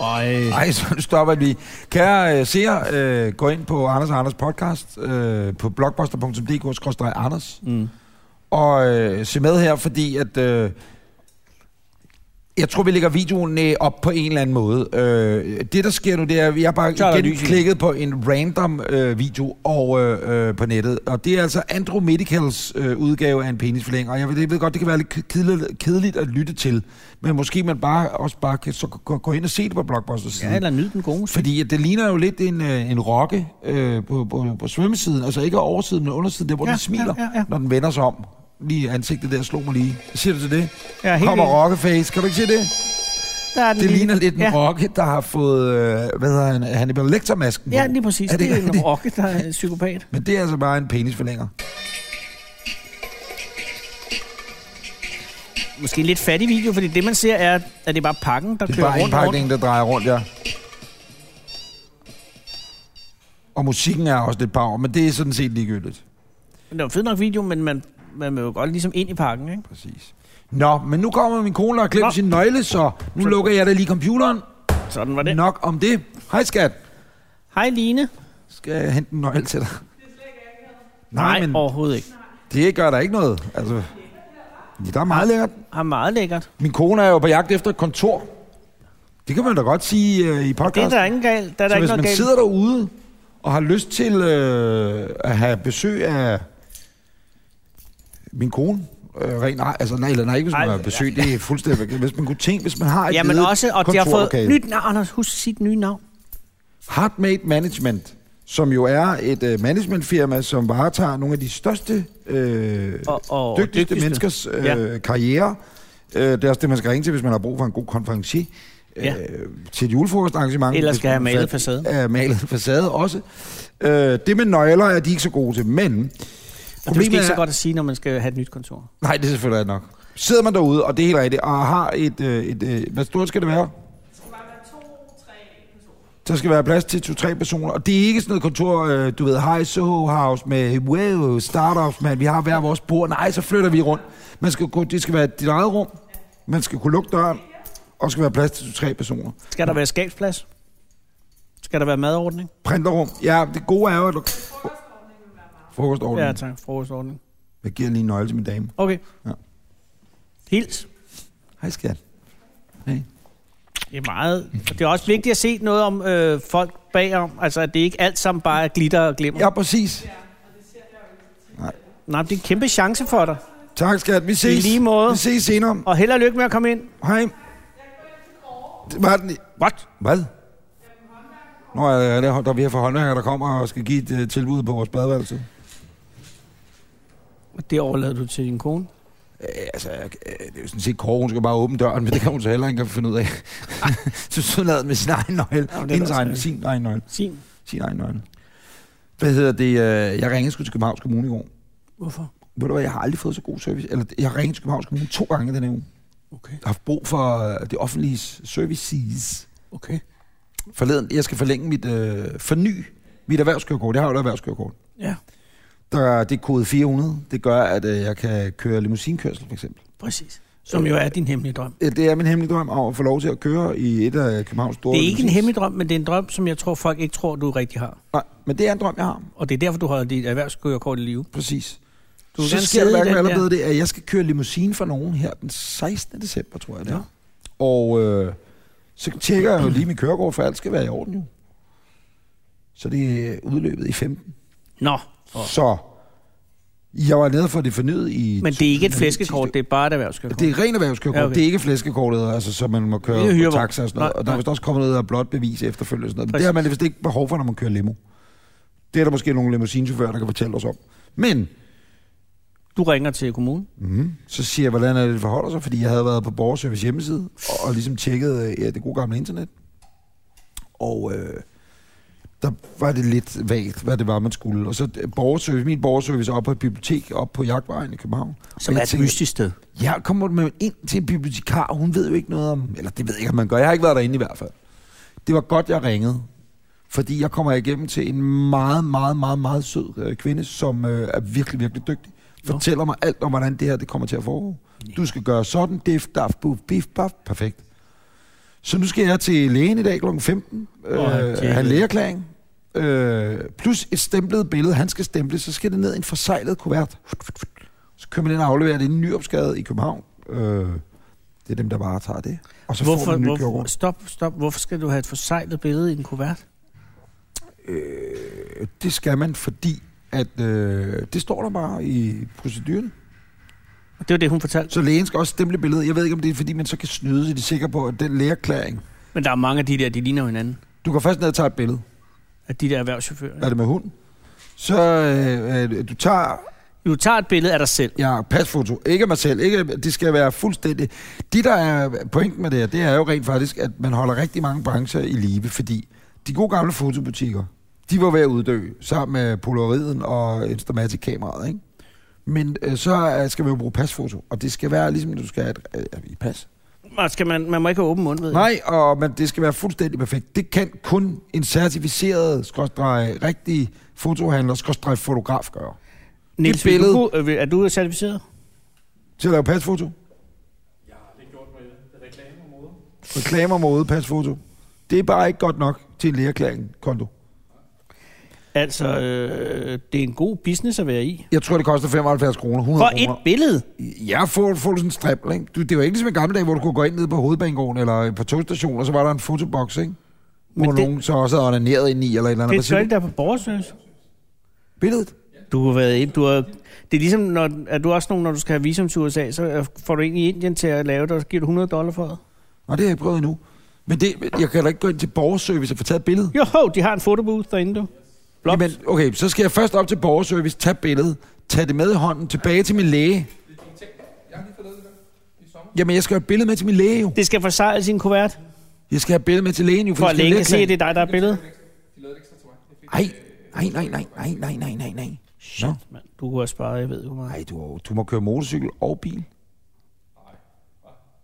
Ej. Nej, så stopper vi. Kære øh, seer, øh, gå ind på Anders og Anders podcast øh, på blogbuster.dk-anders Mm. og øh, se med her, fordi at... Øh, jeg tror, vi lægger videoen øh, op på en eller anden måde. Øh, det, der sker nu, det er, at jeg bare Så er der igen lys i. klikket på en random øh, video og, øh, øh, på nettet. Og det er altså Andrew Medicals øh, udgave af en penisforlænger. Og jeg ved, jeg ved godt, det kan være lidt ke- kedeligt, kedeligt at lytte til. Men måske man bare også bare kan så, gå, gå ind og se det på Blockbusters side. Ja, eller nyd den gode musik. Fordi at det ligner jo lidt en, øh, en rokke øh, på, på, på svømmesiden. Altså ikke oversiden, men undersiden, der hvor ja, den smiler, ja, ja, ja. når den vender sig om. Lige ansigtet der slog mig lige. Hvad siger du til det? Ja, helt Kommer vildt. rockeface. Kan du ikke se det? Der er den Det lille- ligner lidt en ja. rokke, der har fået, øh, hvad hedder han, Hannibal Lecter-masken Ja, på. lige præcis. Er det, det, er en rigtigt? rokke, der er en psykopat. Men det er altså bare en penisforlænger. Måske en lidt fattig video, fordi det man ser er, at det er bare pakken, der Det er kører bare rundt. og rundt. indpakningen, der drejer rundt, ja. Og musikken er også lidt power, men det er sådan set ligegyldigt. Men Det var en fed nok video, men man, man vil jo godt ligesom ind i pakken, ikke? Præcis. Nå, men nu kommer min kone og har Nå. glemt sin nøgle, så nu lukker jeg da lige computeren. Sådan var det. Nok om det. Hej skat. Hej Line. Skal jeg hente en nøgle til dig? Nej, Nej, men overhovedet ikke. det gør der ikke noget. Altså, ja, der er meget lækkert. Har meget lækkert. Min kone er jo på jagt efter et kontor. Det kan man da godt sige øh, i Det er podcasten. der ingen galt. Der er der så ikke hvis man noget galt. sidder derude og har lyst til øh, at have besøg af min kone, øh, rent, nej, altså nej, eller nej, ikke hvis man Ej, har besøg, det er fuldstændig, hvis man kunne tænke, hvis man har et Ja, men ledigt også, og de har fået kontorlokale. nyt navn. Anders, husk sit nye navn. Heartmate Management, som jo er et øh, managementfirma, som varetager nogle af de største, øh, Og- og dygtigste, dygtigste dygtigste. Altså, menneskers øh, ja. Ja. karriere. Øh, det er også det, man skal ringe til, hvis man har brug for en god konferencier. Ja. øh, til et julefrokostarrangement. Eller hvis skal have man malet fat- facade. Ja, malet facade også. Øh, det med nøgler er de ikke så gode til, men... Og det er måske ikke så godt at sige, når man skal have et nyt kontor. Nej, det er selvfølgelig rigtigt nok. Sidder man derude, og det er helt rigtigt, og har et... øh, et, et hvad stort skal det være? Der skal være plads til to-tre personer, og det er ikke sådan noget kontor, øh, du ved, hej Soho House med wow, startups, man, vi har hver vores bord, nej, så flytter vi rundt. Man skal, kunne- det skal være dit eget rum, man skal kunne lukke døren, og skal være plads til to-tre personer. Skal der være skabsplads? Skal der være madordning? Printerrum, ja, det gode er jo, at du... Frokostordning. Ja, Ja, tak. Frokostordning. jeg giver lige en nøgle til min dame. Okay. Ja. Hils. Hej skat. Det er meget. Og det er også vigtigt at se noget om øh, folk bagom. Altså, at det ikke alt sammen bare er glitter og glimmer. Ja, præcis. Nej, men det er en kæmpe chance for dig. Tak skat, vi ses. lige måde. Vi ses senere. Og held og lykke med at komme ind. Hej. Var den... What? Hvad? Nå, ja, ja, det er, der, vi har for håndværkere, der kommer og skal give et uh, tilbud på vores badeværelse. Det overlader du til din kone. Øh, altså, øh, det er jo sådan set Kåre, hun skal bare åbne døren, men det kan hun så heller ikke finde ud af. så sådan lavet med sin egen nøgle. da Ja, Hendes også egen, rigtigt. sin egen nøgle. Sin. Sin egen nøgle. Hvad hedder det? øh, Jeg ringede sgu til Københavns Kommune i går. Hvorfor? Ved du hvad, jeg har aldrig fået så god service. Eller, jeg ringede til Københavns Kommune to gange den her uge. Okay. Jeg har haft brug for øh, det offentlige services. Okay. Forleden, jeg skal forlænge mit, øh, forny mit erhvervskørekort. Jeg har jo et erhvervskørekort. Ja, Der, det er kode 400. Det gør, at øh, jeg kan køre limousinkørsel, for eksempel. præcis. Som jo er din hemmelige drøm. Øh, Det er min hemmelige drøm om at få lov til at køre i et af Københavns store... Det er ikke en limousins. hemmelig drøm, men det er en drøm, som jeg tror, folk ikke tror, du rigtig har. Nej, men det er en drøm, jeg har. Og det er derfor, du har dit erhvervskørekort i live. Præcis. Du Du vil så gerne sker sidde der i hverken den eller der- bedre det, at jeg skal køre limousine for nogen her den 16. december, tror jeg det er. Og øh, så tjekker jeg jo lige mit kørekort, for alt skal være i orden jo. Så det er udløbet i 15. Nå, Så jeg var nede for det fornyet i... men det er ikke et 2010. flæskekort, det er bare et erhvervskørekort. Det er rent erhvervskørekort, Ja, ja, okay. okay. det er ikke flæskekortet, altså, så man må Det er køre på hyrevogn. taxa og sådan noget. Nej, Og der er nej. vist også kommet noget, der er blot bevis efterfølgende. og Sådan noget. Men Præcis. det har man vist ikke behov for, når man kører limo. Det er der måske nogle limousinechauffører, der kan fortælle os om. Men Du ringer til kommunen. mm, så siger jeg, hvordan er det, det forholder sig, fordi jeg havde været på borgerservice hjemmeside og, og ligesom tjekket øh, ja, det gode gamle internet. Og øh, der var det lidt vagt, hvad det var, man skulle. Og så øh, borgerservice, min borgerservice er oppe på et bibliotek, oppe på Jagtvejen i København. Som Og jeg er et tænker, mystisk sted. jeg kommer med ind til en bibliotekar, og hun ved jo ikke noget om... Eller det ved jeg ikke, om man gør. Jeg har ikke været derinde i hvert fald. Det var godt, jeg ringede. Fordi jeg kommer igennem til en meget, meget, meget, meget sød øh, kvinde, som øh, er virkelig, virkelig dygtig. Fortæller mig alt om, hvordan det her det kommer til at foregå. Du skal gøre sådan, dif, daf, buf, bif, baf. Perfekt. Så nu skal jeg til lægen i dag kl. 15. Øh, Åh, tjek. have en lægeerklæring. Øh, plus et stemplet billede, han skal stemple, så skal det ned i en forsejlet kuvert. Så kører man ind og afleverer det i Nyopsgade i København. Øh, det er dem, der bare tager det. Og så får Hvorfor, du en ny hvorfor, kørekort. stop, stop. Hvorfor skal du have et forsejlet billede i en kuvert? Øh, Det skal man, fordi at, øh, det står der bare i proceduren. Og det var det, hun fortalte. Så lægen skal også stemple billedet. Jeg ved ikke, om det er, fordi man så kan snyde, så de er sikre på, at den lægeerklæring... Men der er mange af de der, de ligner jo hinanden. Du går først ned og tager et billede. Af de der erhvervschauffører. Er det med hunden? Så øh, øh, du tager Du tager et billede af dig selv. Ja, pasfoto. Ikke af mig selv. Ikke, det skal være fuldstændig... Det, der er pointen med det her, det er jo rent faktisk, at man holder rigtig mange brancher i live, fordi de gode gamle fotobutikker, de var ved at uddø, sammen med Polaroiden og Instamatic-kameraet, ikke? Men øh, så øh, skal man jo bruge pasfoto, og det skal være ligesom, du skal have et øh, i pas. Og Skal man, man må ikke have åben mund, ved jeg. Nej, og men det skal være fuldstændig perfekt. Det kan kun en certificeret, skråstreg, rigtig fotohandler, skråstreg, fotograf gøre. Niels, det vil billede- Du, kunne- øh, vil- er du certificeret? Til at lave pasfoto? Reklamer, mode, pasfoto. Det er bare ikke godt nok til en lægeerklæring, konto. Altså, øh, det er en god business at være i. Jeg tror, det koster 75 kroner, 100 For kroner. et billede? Jeg får, får du sådan en strippel, ikke? Du, det var ikke ligesom i gamle dage, hvor du kunne gå ind ned på hovedbanegården eller øh, på togstationen, og så var der en fotoboks, ikke? Hvor Men Men det- nogen så også havde onaneret ind i, eller et eller andet. Hvad Det gør siger det du? der på borgerservice. Billedet? Du har været ind, du har, det er ligesom, når, er du også nogen, når du skal have visum til USA, så øh, får du ind i Indien til at lave det, og så giver du 100 dollar for det. Nå, det har jeg ikke prøvet endnu. Men det, jeg kan da ikke gå ind til borgerservice og få taget et billede. Jo, ho, de har en fotobooth derinde, du. Blot. Jamen, okay, så skal jeg først op til borgerservice, tage billedet, tage det med i hånden, tilbage til min læge. Jamen, jeg skal jo have et billede med til min læge, jo. Det skal forsejles i en kuvert. Jeg skal have billede med til lægen, jo, For at det skal lægen i kan se, at det Letland. er dig, der er billedet. Ej, nej, nej, nej, nej, nej, nej, nej. Shit. Nå. Man, du kunne have sparet, jeg ved hvor meget. Nej, du, du må køre motorcykel og bil.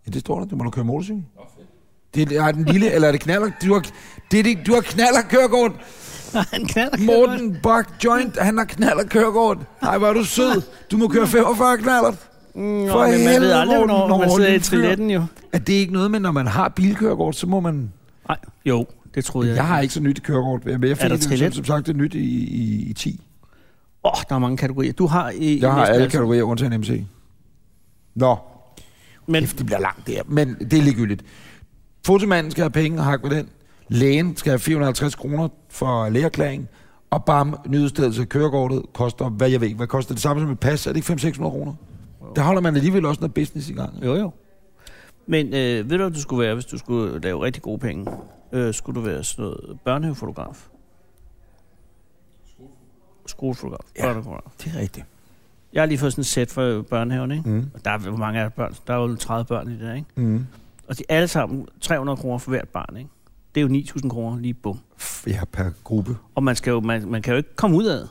Ja, det står der. Du må køre motorcykel. Det er, er den lille, eller er det knaller? Du har, det er det, du har knaller kørekort. Han knaller Morten Bak Joint, han har knaller kørekort. Nej, hvor er du sød. Du må køre 45 knaller. Nå, For men man ved helvede, aldrig, Morten. hvornår Nå, man sidder i lille fyr. triletten jo. Er det ikke noget med, når man har bilkørekort, så må man... Nej, jo, det troede jeg. Jeg har ikke så nyt kørekort, men jeg fik det der jo som, trillet? som sagt det nyt i, i, i 10. Åh, oh, der er mange kategorier. Du har i... Jeg har næsten alle altså. kategorier undtagen MC. Nå, Men Kæft, det bliver langt der, men det er ligegyldigt. Fotomanden skal have penge, hak med den. Lægen skal have 450 kroner for lægerklæring. Og bam, nyudstedelse af kørekortet koster, hvad jeg ved, hvad koster det samme som et pas? Er det ikke 500-600 kroner? Der holder man alligevel også noget business i gang. Jo, jo. Men øh, ved du, hvad du skulle være, hvis du skulle lave rigtig gode penge? Øh, skulle du være sådan noget børnehavefotograf? Skolefotograf? Ja. Børnefotograf. Det er rigtigt. Jeg har lige fået sådan et sæt for børnehaven, ikke? Mm. Og der er, hvor mange af børn? Der er jo 30 børn i det, der, ikke? Mm. Og de er alle sammen 300 kroner for hvert barn, ikke? Det er jo 9.000 kroner lige bum. F- Ja, per gruppe. Og man, skal jo, man, man kan jo ikke komme ud af det.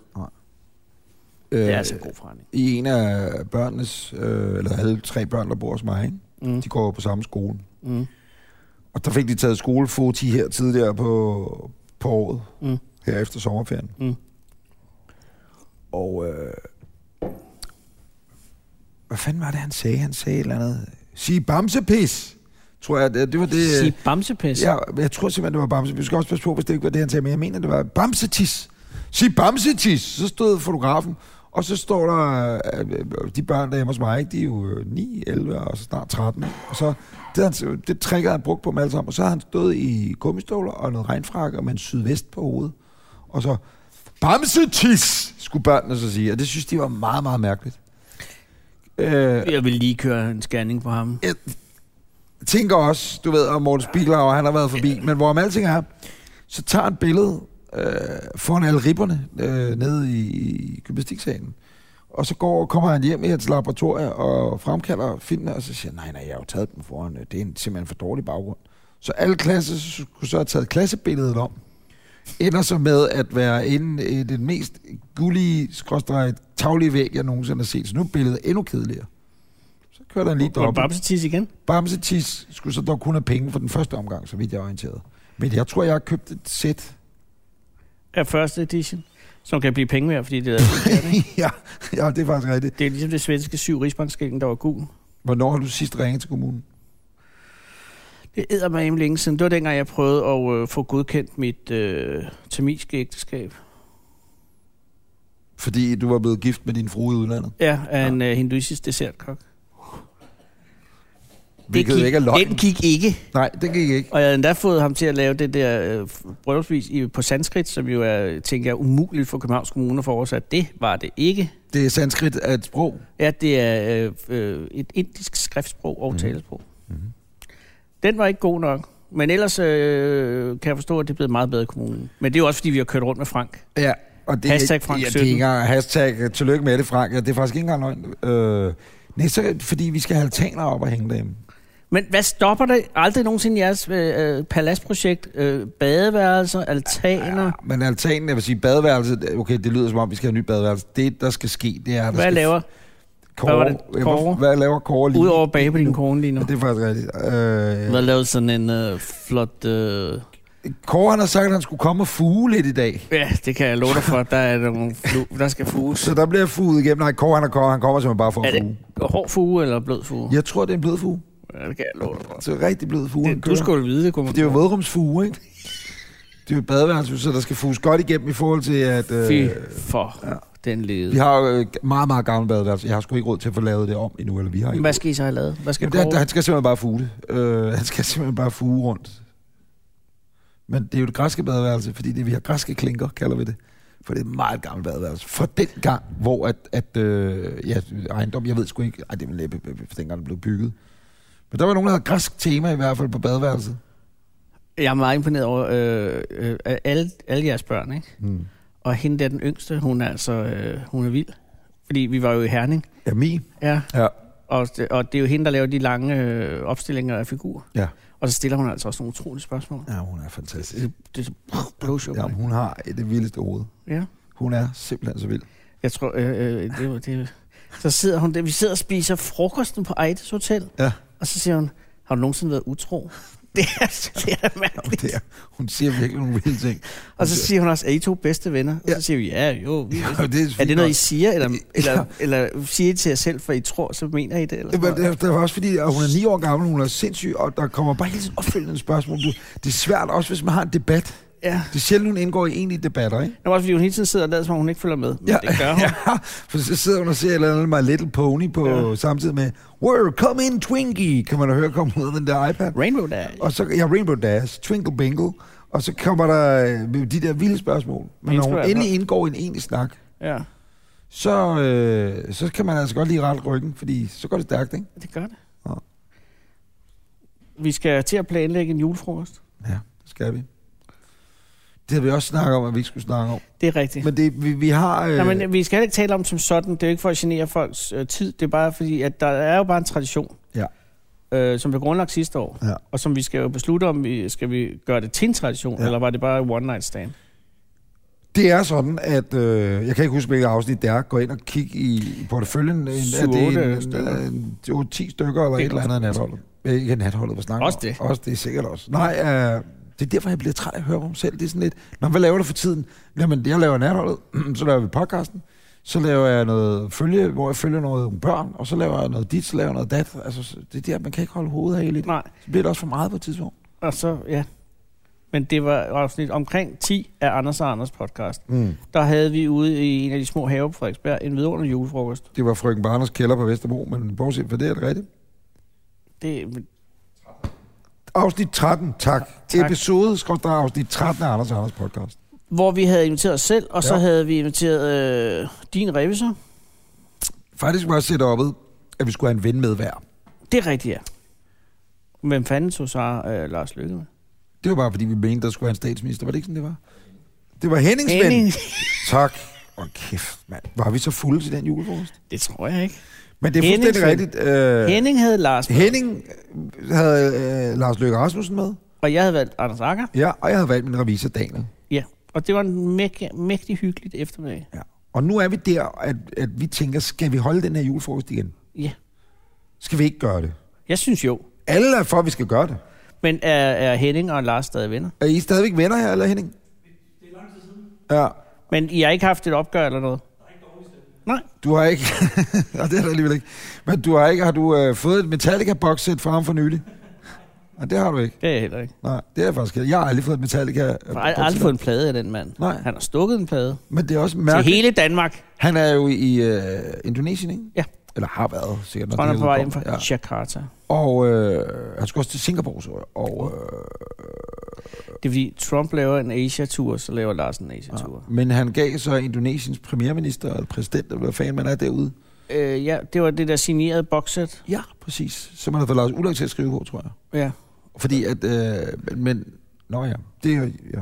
Øh, Det er altså en god forretning. I en af børnenes, øh, eller alle tre børn, der bor hos mig, ikke? Mm. de går jo på samme skole. Mm. Og der fik de taget skolefoti her tidligere på, på året, Mm. mm. her efter sommerferien. Mm. Og øh, hvad fanden var det, han sagde? Han sagde et eller andet. Sig bamsepis, tror jeg. Det, det var det. Sige bamsepæs. Ja, jeg tror simpelthen, det var Bamse. Vi skal også passe på, hvis det ikke var det, han sagde, men jeg mener, det var Bamsetis. Sig Bamsetis! Så stod fotografen, og så står der, øh, øh, de børn der hjemme hos mig, ikke? de er jo øh, 9, 11 og så snart 13. Og så, det, havde han, det trækker han brugt på dem alle sammen. Og så har han stået i gummistøvler og noget regnfrak og med en sydvest på hovedet. Og så, Bamsetis, skulle børnene så sige. Og det synes de var meget, meget mærkeligt. Øh, Jeg vil lige køre en scanning på ham. jeg tænker også, du ved, om Morten Spiegelauer, han har været forbi, men hvorom alting er, så tager han et billede øh, foran alle ribberne øh, nede i, i gymnastiksalen. Og så går, kommer han hjem i hans laboratorie og fremkalder filmene, og så siger han, nej, nej, jeg har jo taget dem foran, øh, det er en, simpelthen for dårlig baggrund. Så alle klasser skulle så have taget klassebilledet om, ender så med at være inde i den mest gullige, skråstreget, taglige væg, jeg nogensinde har set. Så nu er billedet endnu kedeligere. Så kører der en lige Var det dobbelt. bamsetis igen? Bamse Tis skulle så dog kun have penge for den første omgang, så vidt jeg er orienteret. Men jeg tror, jeg har købt et sæt. Er første edition. Som kan blive penge værd, fordi det er ja, ja, det er faktisk rigtigt. Det er ligesom det svenske syv rigsbankskilling, der var gul. Hvornår har du sidst ringet til kommunen? Det æder mig længe siden. Det var dengang, jeg prøvede at øh, få godkendt mit øh, tamilske ægteskab. Fordi du var blevet gift med din frue i udlandet. Ja, af en øh, hinduistisk dessertkok. Hvilket gik, ikke er løgn. Den gik ikke. Nej, det gik ikke. Og jeg havde endda fået ham til at lave det der øh, f- bryllupsvis i, på sanskrit, som jo er, tænker jeg, umuligt for Københavns Kommune at få oversat. Det var det ikke. Det er sanskrit af et sprog. Ja, det er øh, øh, et indisk skriftsprog Mhm. og mm. talesprog. Mm. Den var ikke god nok. Men ellers øh, kan jeg forstå, at det er blevet meget bedre i kommunen. Men det er jo også, fordi vi har kørt rundt med Frank. Ja, og det er Hashtag ikke- Frank ja, det er 17. ikke engang, hashtag øh, tillykke med det, Frank. Ja, det er faktisk ikke engang løgn. Øh, nej, så, fordi vi skal have altaner op og hænge dem. Men hvad stopper det aldrig nogensinde jeres øh, øh, paladsprojekt? Øh, badeværelser, altaner? Ja, Men altanen, jeg vil sige, badeværelset, okay, det lyder som om, vi skal have nyt badeværelse. Det, der skal ske, det er, der hvad skal laver Kåre, Hvad var det? Ja, Kåre? hvor- Hvad laver Kåre lige? udover bage på din kone lige nu? Ja, det er faktisk rigtigt. Hvad Øh, lavede sådan en øh, flot... Øh... Kåre, han har sagt, at han skulle komme og fuge lidt i dag. Ja, det kan jeg love dig for. Der, er nogle flu... der skal fuges. Så der bliver fuget igennem. Nej, Kåre, han, er Kåre, han kommer simpelthen bare for Er at fuge. det hård fuge eller blød fuge? Jeg tror, det er en blød fuge. Ja, det kan jeg love dig for. Så rigtig blød fuge. han Det, kører. du skulle vide, det kunne man Det er jo vådrumsfuge, ikke? Det er jo et badeværelse, så der skal fuges godt igennem i forhold til, at... Øh, Fy for ja. den lede. vi har jo øh, meget, meget gammel badeværelse. Jeg har sgu ikke råd til at få lavet det om endnu, eller vi har ikke Hvad råd. skal I så have lavet? Hvad skal Jamen, det, er- Kåre- han skal simpelthen bare fuge det. Øh, han skal simpelthen bare fuge rundt. Men det er jo det græske badeværelse, fordi det vi har græske klinker, kalder vi det. For det er et meget gammelt badeværelse. Fra den gang, hvor at, at øh, ja, ejendom, jeg ved sgu ikke, ej, det er vel næppe, øh, fra dengang det blev bygget. Men der var nogen, der havde græsk tema i hvert fald på badeværelset. Jeg er meget imponeret over øh, øh, af alle, alle jeres børn, ikke? Mm. Og hende der, den yngste, hun er altså, øh, hun er vild. Fordi vi var jo i Herning. Ja, min. Ja. Ja. Og, det- og det er jo hende, der laver de lange øh, opstillinger af figurer. Ja. Og så stiller hun altså også nogle utrolige spørgsmål. Ja, hun er fantastisk. Det, det er så blowshow. Ja, hun har det vildeste hoved. Ja. Hun er simpelthen så vild. Jeg tror, øh, øh, det, var- det, så sidder hun der. Vi sidder og spiser frokosten på Eides Hotel. Ja. Og så siger hun, har du nogensinde været utro? Det er, det er Jamen, mærkeligt. det er, hun siger virkelig nogle vilde ting. Og så siger hun også, er I to bedste venner? Og Ja. så siger vi, ja, jo. Vi er, Ja, det er, er det noget, I fint siger? Eller, eller, eller siger I til jer selv, for I tror, så mener I det? Eller nok. sådan Men noget? det er- det er også fordi, at hun er ni år gammel, hun er sindssyg, og der kommer bare hele tiden opfølgende spørgsmål. Du, det er svært også, hvis man har en debat. Ja. Det er sjældent, hun indgår i egentlige debatter, ikke? Det var også, fordi hun hele tiden sidder og lader, som om hun ikke følger med. Men det gør hun. Ja, for så sidder hun og ser et eller andet My Little Pony på ja. Ja. samtidig med, Word, come in Twinkie, kan man da høre komme ud af den der iPad. Rainbow Dash. Og så, ja, Rainbow Dash, Twinkle Bingle, og så kommer der øh, med de der vilde spørgsmål. Men når hun Inspirerende. endelig indgår i en egentlig snak, Ja, så, øh, så kan man altså godt lige rette ryggen, fordi så går det stærkt, ikke? det gør det. Ja. Vi skal til at planlægge en julefrokost. Ja, det skal vi. Det havde vi også snakket om, at vi ikke skulle snakke om. Det er rigtigt. Men, Men det, vi, vi har... Øh, øh... Nej, men vi skal heller ikke tale om det som sådan. Det er jo ikke for at genere folks øh, tid. Det er bare fordi, at der er jo bare en tradition, Ja. øh, som blev grundlagt sidste år. Ja. Og som vi skal jo beslutte om, vi, skal vi gøre det til en tradition, Ja. ja. eller var det bare en one night stand? Det er sådan, at... Øh, jeg kan ikke huske, hvilket afsnit det er. Gå ind og kig i porteføljen. En, er Syv, det en, otte en, stykker. en, jo, 10 stykker eller Det et er eller andet af natholdet. Øh, Ikke af natholdet, hvad snakker Også om? det. Også det, sikkert også. Nej, øh, det er derfor, jeg bliver træt af at høre om selv. Det er sådan lidt, Nå, hvad laver du for tiden? Jamen, jeg laver natholdet, så laver vi podcasten, så laver jeg noget følge, hvor jeg følger noget om børn, og så laver jeg noget dit, så laver jeg noget dat. Altså, så- det er der, man kan ikke holde hovedet af i lidt. Nej, Så bliver det også for meget på et tidspunkt. og så, ja. Men det var afsnit omkring 10 af Anders og Anders podcast. Mm. Der havde vi ude i en af de små haver på Frederiksberg en vidunderlig julefrokost. Det var frøken Barners kælder på Vesterbro, men bortset fra det er det rigtigt. Det, Afsnit 13, tak. tak. Tak. Episode, skråt der afsnit 13 af Anders og Anders podcast. hvor vi havde inviteret os selv, og ja. så Ja. havde vi inviteret øh, din revisor. Faktisk var setup'et, at vi skulle have en ven med hver. Det er rigtigt, ja. Hvem fanden tog så øh, Lars Lykke med? Det var bare, fordi vi mente, der skulle være en statsminister. Var det ikke sådan, det var? Det var Hennings ven. Henning. Tak. Og kæft, mand. Var vi så fulde til den julefrokost? Det tror jeg ikke. Men det er Hennings fuldstændig ven. rigtigt. Øh, Henning havde Lars med, Henning havde øh, Lars Løkke Rasmussen med. og jeg havde valgt Anders Akker. Ja, og jeg havde valgt min revisor Daniel. Ja, og det var en mægtig, mægtig hyggeligt eftermiddag. Ja. Og nu er vi der, at, at vi tænker, skal vi holde den her julefrokost igen? Ja, Skal vi ikke gøre det? jeg synes jo. Alle er for, at vi skal gøre det. Men er, er Henning og Lars stadig venner? Er I stadigvæk venner her, eller Henning? Det er lang tid siden. Ja, Men I har ikke haft et opgør eller noget? Nej, du har ikke... og det er der alligevel ikke. Men du har ikke... Har du øh, fået et Metallica-boxsæt fra ham for nylig? Og det har du ikke. det er jeg heller ikke. Nej, det er jeg faktisk ikke. Jeg har aldrig fået et metallica For jeg har aldrig fået en plade af den mand. Nej. Han har stukket en plade Men det er også Mærke. til mærkeligt. hele Danmark. Jeg Han er jo i øh, Indonesien, ikke? Ja. Eller har været, sikkert. når tror, han det er på vej udkom. hjem fra Ja. Jakarta. Og øh, han skulle også til Singapore, så jeg. Og, øh, Det er fordi, Trump laver en Asia-tur, så laver Lars en Asia-tur. men han gav så Indonesiens premierminister, eller præsident, eller hvad fanden man er derude. Ja. Øh, ja, det var det der signerede bokset. Ja, præcis. Som han har fået Lars Ulrik til at skrive på, tror jeg. Ja. Fordi at, øh, men, men, nå ja, det er jo, ja.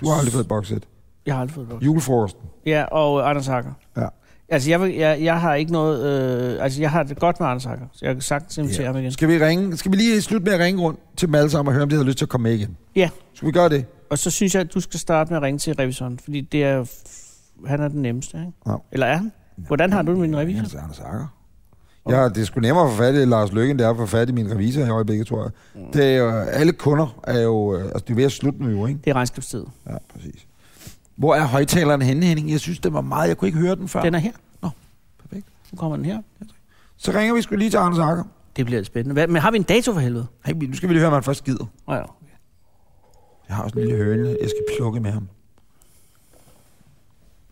Du har aldrig fået et boxset. Jeg har aldrig fået et bokset. Julefrokosten. Ja, og øh, Anders Hacker. Ja. Altså, jeg, vil- jeg, jeg har ikke noget... Øh, altså, jeg har det godt med Anders Hacker, så jeg kan sagtens invitere ham igen. Skal vi ringe, skal vi lige slutte med at ringe rundt til dem alle sammen og høre, om de har lyst til at komme med igen? Ja, Skal vi gøre det? og så synes jeg, at du skal starte med at ringe til revisoren, fordi det er, f- han er den nemmeste, ikke? Ja. altså, Eller er han? Hvordan har du det med din revisor? Jens Anders Akker. Ja, det er sgu nemmere at få fat i Lars Løkke, end det er at få fat i min revisor i øjeblikket, tror jeg. Mm. Det er jo, alle kunder er jo, øh, altså det er ved at slutte nu, jo, ikke? Det er regnskabstid. Ja, præcis. Hvor er højtaleren henne, Henning? Jeg synes, det var meget, jeg kunne ikke høre den før. Den er her. Perfekt. Nu kommer den her. Så ringer vi sgu lige til Anders Akker. Det bliver lidt spændende. Hvad, men har vi en dato for helvede? Hey, nu skal vi lige høre, om han først gider. Oh, ja. Jeg har også en lille høne, jeg skal plukke med ham.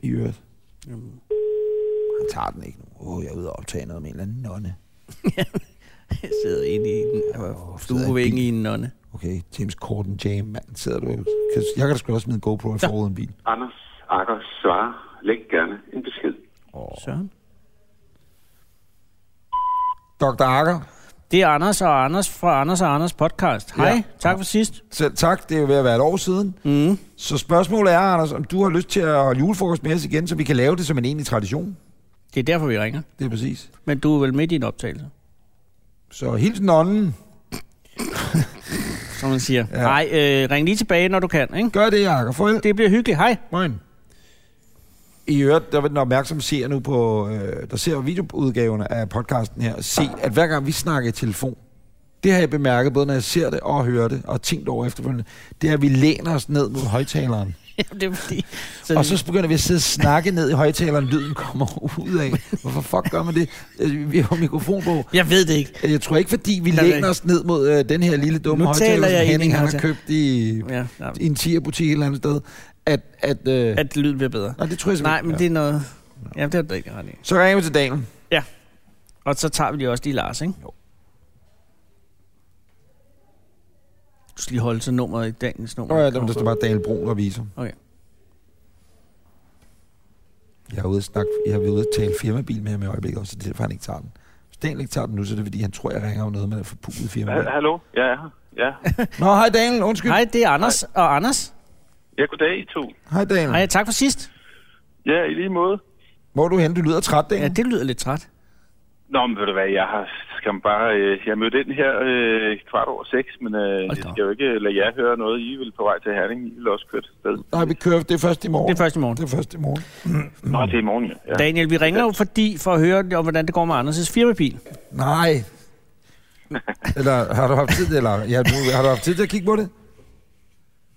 I øvrigt. Han tager den ikke nu. Åh, oh, jeg er ude og optage noget med en eller anden nonne. Jeg sidder inde i en Åh, stuevæg i en nonne. Okay, James Corden, James, mand, sidder du kan, Jeg kan da sgu da også smide en GoPro i foråret en bil. Anders Akker svarer. Læg gerne en besked. Søren. Dr. Akker, Det er Anders og Anders fra Anders og Anders podcast. Hej, Ja. ja. tak for sidst. selv tak, det er jo ved at være et år siden. Mm. Så spørgsmålet er, Anders, om du har lyst til at holde julefrokost med os igen, så vi kan lave det som en egentlig tradition? Det er derfor, vi ringer. Det er præcis. Men du er vel midt i en optagelse, Så hils nonnen. som man siger. Ja. Nej, øh, ring lige tilbage, når du kan. Ikke? Gør det, Jakob. Farvel. Det bliver hyggeligt. Hej. Moin. I øvrigt, der vil den opmærksomme seer nu på, øh, der ser videoudgaverne af podcasten her, se, at hver gang vi snakker i telefon, det har jeg bemærket, både når jeg ser det og hører det, og tænkt over efterfølgende, det er, at vi læner os ned mod højtaleren. Jamen, det er fordi... Så Og så begynder vi at sidde og snakke ned i højtaleren, lyden kommer ud af. Hvorfor fuck gør man det? Altså, Vi har jo mikrofon på. Øh, Jeg ved det ikke. Jeg tror ikke, fordi vi Nej, læner nej. os ned mod øh, den her lille dumme Nu højtaler, taler som jeg ind i Henning en han har højtaler. købt i, Ja, ja. i en tierbutik et eller andet sted, at... at, øh, at At lyden bliver bedre. Nå, det tror jeg simpelthen Nej, ikke. men det er noget... Ja, det har du ikke ret i. Så ringer vi til Daniel. Og så tager vi lige også lige Lars, ikke? Jo. Du skal lige holde til nummeret i dagens nummer. Nå ja, dem, der står bare Daniel Brun og viser. Okay. Jeg er ude at snakke, jeg har været ude at tale firmabil med ham i øjeblikket, også, så det er derfor, han ikke tager den. Hvis Daniel ikke tager den nu, så er det fordi, han tror, jeg ringer om noget med at få pulet firmabil. Ha- Hallo? Ja, jeg er her. Ja. Nå, hej Daniel, undskyld. Hej, det er Anders og Anders. ja, goddag I to. Hej Daniel. Hej, tak for sidst. Ja, i lige måde. Hvor er du henne? Du lyder træt, Ja, Daniel. det lyder lidt træt. Nå, men ved du hvad, jeg har skam bare... Øh, jeg mødte ind her øh, kvart over seks, men øh, jeg da op. skal jo ikke lade jer høre noget. I vil på vej til Herning. I vil også køre til sted. Nej, vi kører, det er først i morgen. Det er først i morgen. Det er først i morgen. Mm. Nå, det er i morgen, ja. ja. Daniel, vi ringer jo fordi for at høre, om, hvordan det går med Anders' firmabil. Nej. Eller har du haft tid, eller ja, du, har du haft tid til at kigge på det?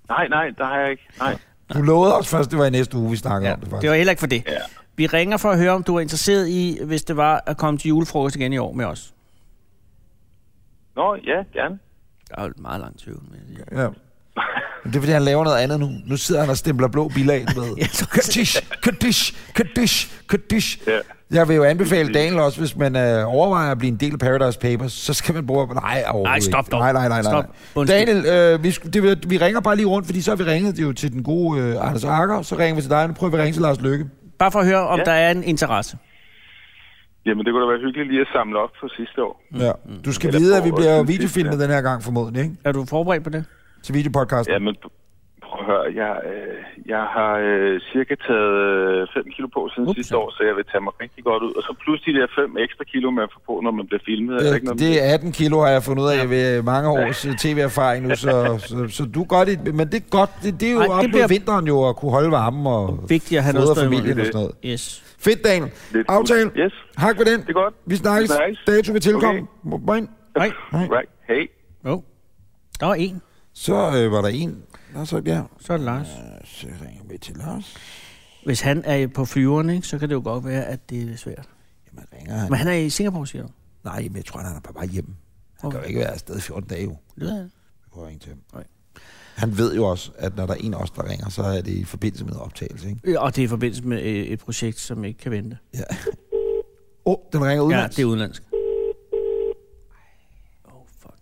Nej, nej, der har jeg ikke. Nej. Du lovede os først, det var i næste uge, vi snakkede Ja, om det faktisk. det var heller ikke for det. Ja. Vi ringer for at høre, om du er interesseret i, hvis det var at komme til julefrokost igen i år med os. Nå, ja, gerne. Der er jo meget lang tvivl. vil jeg sige. Ja. Men Det er, fordi han laver noget andet nu. Nu sidder han og stempler blå bilag med. Jeg tror- Kadish, kadish, kadish, kadish. Ja. Jeg vil jo anbefale Daniel også, hvis man øh, overvejer at blive en del af Paradise Papers, så skal man bruge... Nej, overhovedet Nej, stop ikke. dog. Nej, nej, nej. nej. Stop. Undskyld. Daniel, øh, vi, sk- det, vil- vi ringer bare lige rundt, fordi så har vi ringet jo til den gode øh, Anders Akker, så ringer vi til dig, og nu prøver vi at ringe til Lars Lykke. Mm. Bare for at høre, om ja. Ja. der er en interesse. Jamen, det kunne da være hyggeligt lige at samle op for sidste år. Ja. Du skal Eller vide, at vi prøver at bliver synes, videofilmet Mm. ja. den her gang formodentlig, ikke? Er du forberedt på det? Til videopodcasten. Jamen, prøv at høre, jeg, øh, jeg har øh, cirka taget 5 kilo på siden Ups. Ups. sidste år, så jeg vil tage mig rigtig godt ud. Og så plus de der 5 ekstra kilo, man får på, når man bliver filmet. Øh, er der ikke Det, noget Øh, det er 18 kilo, har jeg fundet ud af ved mange års øh, tv-erfaring nu, så, så, så du er godt i, Men det er godt, det, det er jo Ej, Ej, det op mod bliver- vinteren jo at kunne holde varmen og Vigtigt at have noget fodre sted i familien og munden. sådan noget. Yes. Fedt, Daniel. Lidt- Aftale. Yes. Hak ved den. er godt. Vi snakkes. Vi snakkes. Dato ved tilkommen. Okay. Nej. Hej. Right, hey. Jo. Oh. Der var en. Så øh, var der en. Nå, så ja. Så er det Lars. Så ringer vi til Lars. Hvis han er på flyveren, ikke, så kan det jo godt være, at det er svært. Jamen, ringer han. Men han er i Singapore, siger du? Nej, men jeg tror, han er på vej hjemme. Han Okay. kan jo ikke være afsted i 14 dage, jo. Det ved jeg. Vi prøver at ringe til ham. Nej. Han ved jo også, at når der er en af os, der ringer, så er det i forbindelse med optagelse, ikke? ikke. Og det er i forbindelse med øh, et projekt, som ikke kan vente. Ja. Åh, oh, den ringer Ja, udenlands. det er udenlandsk. Oh, fuck.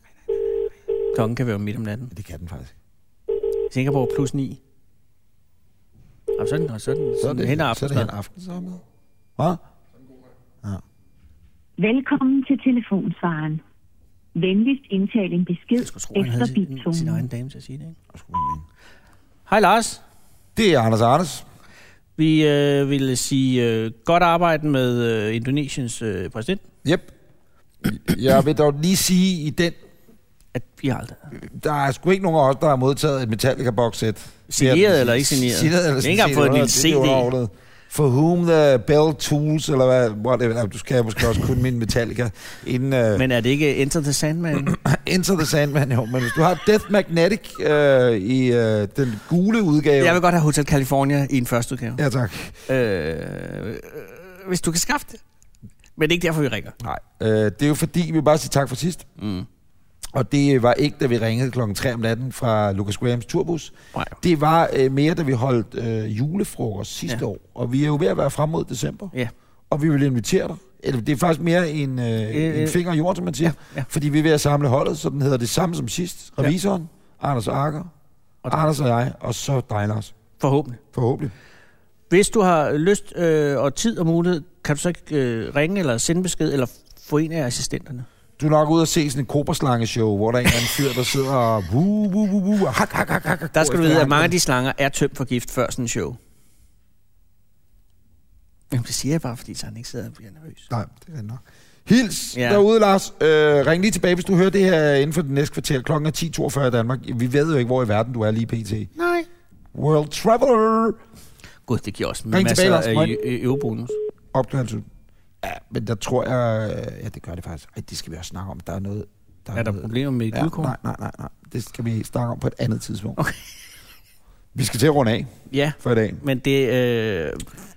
Klokken kan være midt om natten. Det kan den faktisk. Singapore plus 9. Og sådan, og sådan, sådan, sådan hen og så er det aften. hen aften så er med. Hvad? Velkommen til telefonsvaren. Venligst indtal en besked Jeg skulle tro, han efter havde sin, sin biptonen. egen dame til at sige det, ikke? Hej Lars. Det er Anders Anders. Vi øh, ville sige øh, godt arbejde med øh, Indonesiens øh, præsident. Yep. Jeg vil dog lige sige i den, At vi har aldrig... der er sgu ikke nogen af os, der har modtaget et metallica boxset Signeret eller ikke signeret? Signeret eller Det er ikke engang signeret, fået en lille det er jo CD. underordnet. For whom the bell tools, eller hvad, whatever. Du skal måske også kunne min Metallica, inden øh, Men er det ikke Enter the Sandman? Enter the Sandman, jo. Men hvis du har Death Magnetic øh, i øh, den gule udgave... Jeg vil godt have Hotel California i en første udgave. Ja, tak. Øh, øh, hvis du kan skaffe det. Men det er ikke derfor, vi ringer. Nej, øh, det er jo fordi, vi vil bare sige tak for sidst. Mm. Og det var ikke, da vi ringede klokken 3 om natten fra Lucas Grahams turbus. Nej. Det var øh, mere, da vi holdt øh, julefrokost sidste Ja. ja. år. Og vi er jo ved at være frem mod december. Ja. Og vi vil invitere dig. Eller det er faktisk mere en, øh, øh, øh. en finger i jorden, som man siger. Ja, ja. Fordi vi er ved at samle holdet, så den hedder det samme som sidst. Revisoren, ja. Anders Akker, og Anders og jeg, og så dig, Lars. Forhåbentlig. Forhåbentlig. Hvis du har lyst øh, og tid og mulighed, kan du så ikke øh, ringe eller sende besked, eller få en af assistenterne. Du er nok ude og se sådan et kobraslange-show, hvor der er en eller anden fyr, der sidder og... Woo, woo, woo, woo, og hak, hak, hak, hak, hak, Der skal går du vide, efter at mange af andre. de slanger er tømt for gift før sådan en show. Jamen, det siger jeg bare, fordi så han ikke sidder og bliver nervøs. Nej, det er nok. Hils ja. Ja. derude, Lars. Øh, ring lige tilbage, hvis du hører det her inden for det næste kvarter. Klokken er 10.42 i Danmark. Vi ved jo ikke, hvor i verden du er lige pt. Nej. World Traveler. Gud, det giver også Ring tilbage, masser Lars. af E- Ring. ø- ø- eurobonus. Opgørelse. Ja, men der tror jeg... Ja, det gør det faktisk. Ej, det skal vi også snakke om. Der er noget... Er der noget- problemer med Ja, guldkorn? nej, nej, nej, nej. Det skal vi snakke om på et andet tidspunkt. Okay. Vi skal til at runde af Ja, for i dag. men det, øh,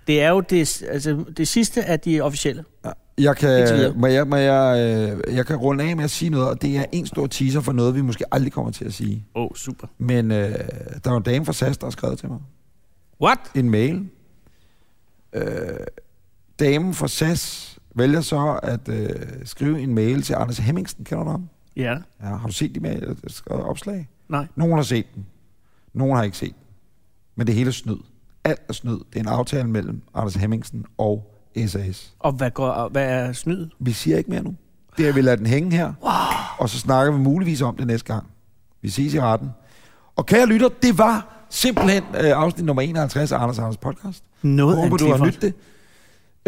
det er jo det, altså, det sidste af de officielle. Jeg Indtil kan, videre. må jeg, må jeg, øh, jeg kan runde af med at sige noget, og det er en stor teaser for noget, vi måske aldrig kommer til at sige. Åh, oh, super. Men øh, der var en dame fra SAS, der har skrevet til mig. What? en mail. Øh, damen fra SAS vælger så at øh, skrive en mail til Anders Hemmingsen, kender du ham? Ja. Ja, har du set de mail, opslag? Nej. Nogen har set den. Nogen har ikke set den. Men det hele er snyd. Alt er snyd. Det er en aftale mellem Anders Hemmingsen og SAS. Og hvad, går, og hvad er snyd? Vi siger ikke mere nu. Det er, vi lader den hænge her. Wow. Og så snakker vi muligvis om det næste gang. Vi ses i retten. Og kære lytter, det var simpelthen øh, afsnit nummer 51 af Anders Anders podcast. Noget Håber, af en du har cliffhanger. nydt det.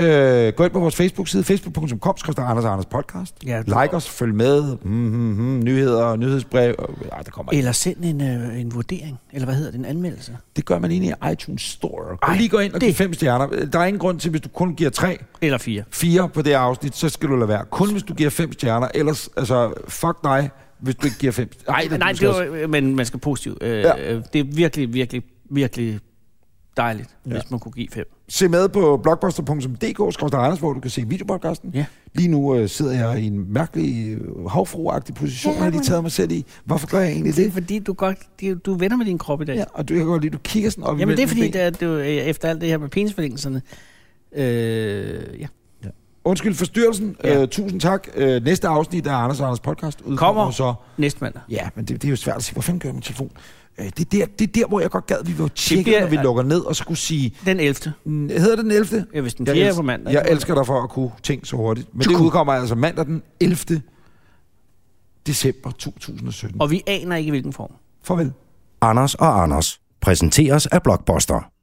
Øh, gå ind på vores Facebook-side, facebook.com, skriv Anders og Anders podcast. Ja, du- like os, følg med, mm, mm, mm, nyheder, nyhedsbrev. og- Ej, der kommer ikke. Eller send en, øh, en vurdering, eller hvad hedder det, en anmeldelse. Det gør man egentlig i iTunes Store. Ej, Ej, lige gå ind og give det- fem stjerner. Der er ingen grund til, hvis du kun giver tre, Eller fire. fire på det afsnit, så skal du lade være. Kun hvis du giver fem stjerner, ellers, altså, fuck dig, hvis du ikke giver fem Nej, det- nej du det skal også- var, men man skal positivt. Øh, Ja. ja. Det er virkelig, virkelig, virkelig dejligt, Ja. ja. hvis man kunne give fem. Se med på blogbuster.dk, skriver Anders, hvor du kan se videopodcasten. Ja. Lige nu øh, sidder jeg i en mærkelig øh, havfruagtig position, ja, har de taget mig selv i. Hvorfor gør jeg egentlig Det er det? fordi, du, godt, det er- du er venner med din krop i dag. Ja, og du kan godt lide, du kigger sådan op Jamen det er imellem fordi, ben. der, du, øh, efter alt det her med penisforlængelserne, øh, ja. Undskyld forstyrrelsen. Ja. Ja. Øh, tusind tak. Øh, næste afsnit af Anders og Anders podcast udkommer Kommer. så. næste mandag. Ja, men det, det er jo svært at sige. Hvor fanden gør jeg min telefon? Øh, det, er der, det er der, hvor jeg godt gad, vi var tjekke, bliver- når vi lukker ned og skulle sige... Den 11. mm, Hedder det den 11.? Ja, hvis den fjerde elsk- på mandag. Jeg elsker dig for at kunne tænke så hurtigt. Men det udkommer altså mandag den 11. december 2017. Og vi aner ikke, hvilken form. Farvel. Anders og Anders præsenteres af Blockbuster.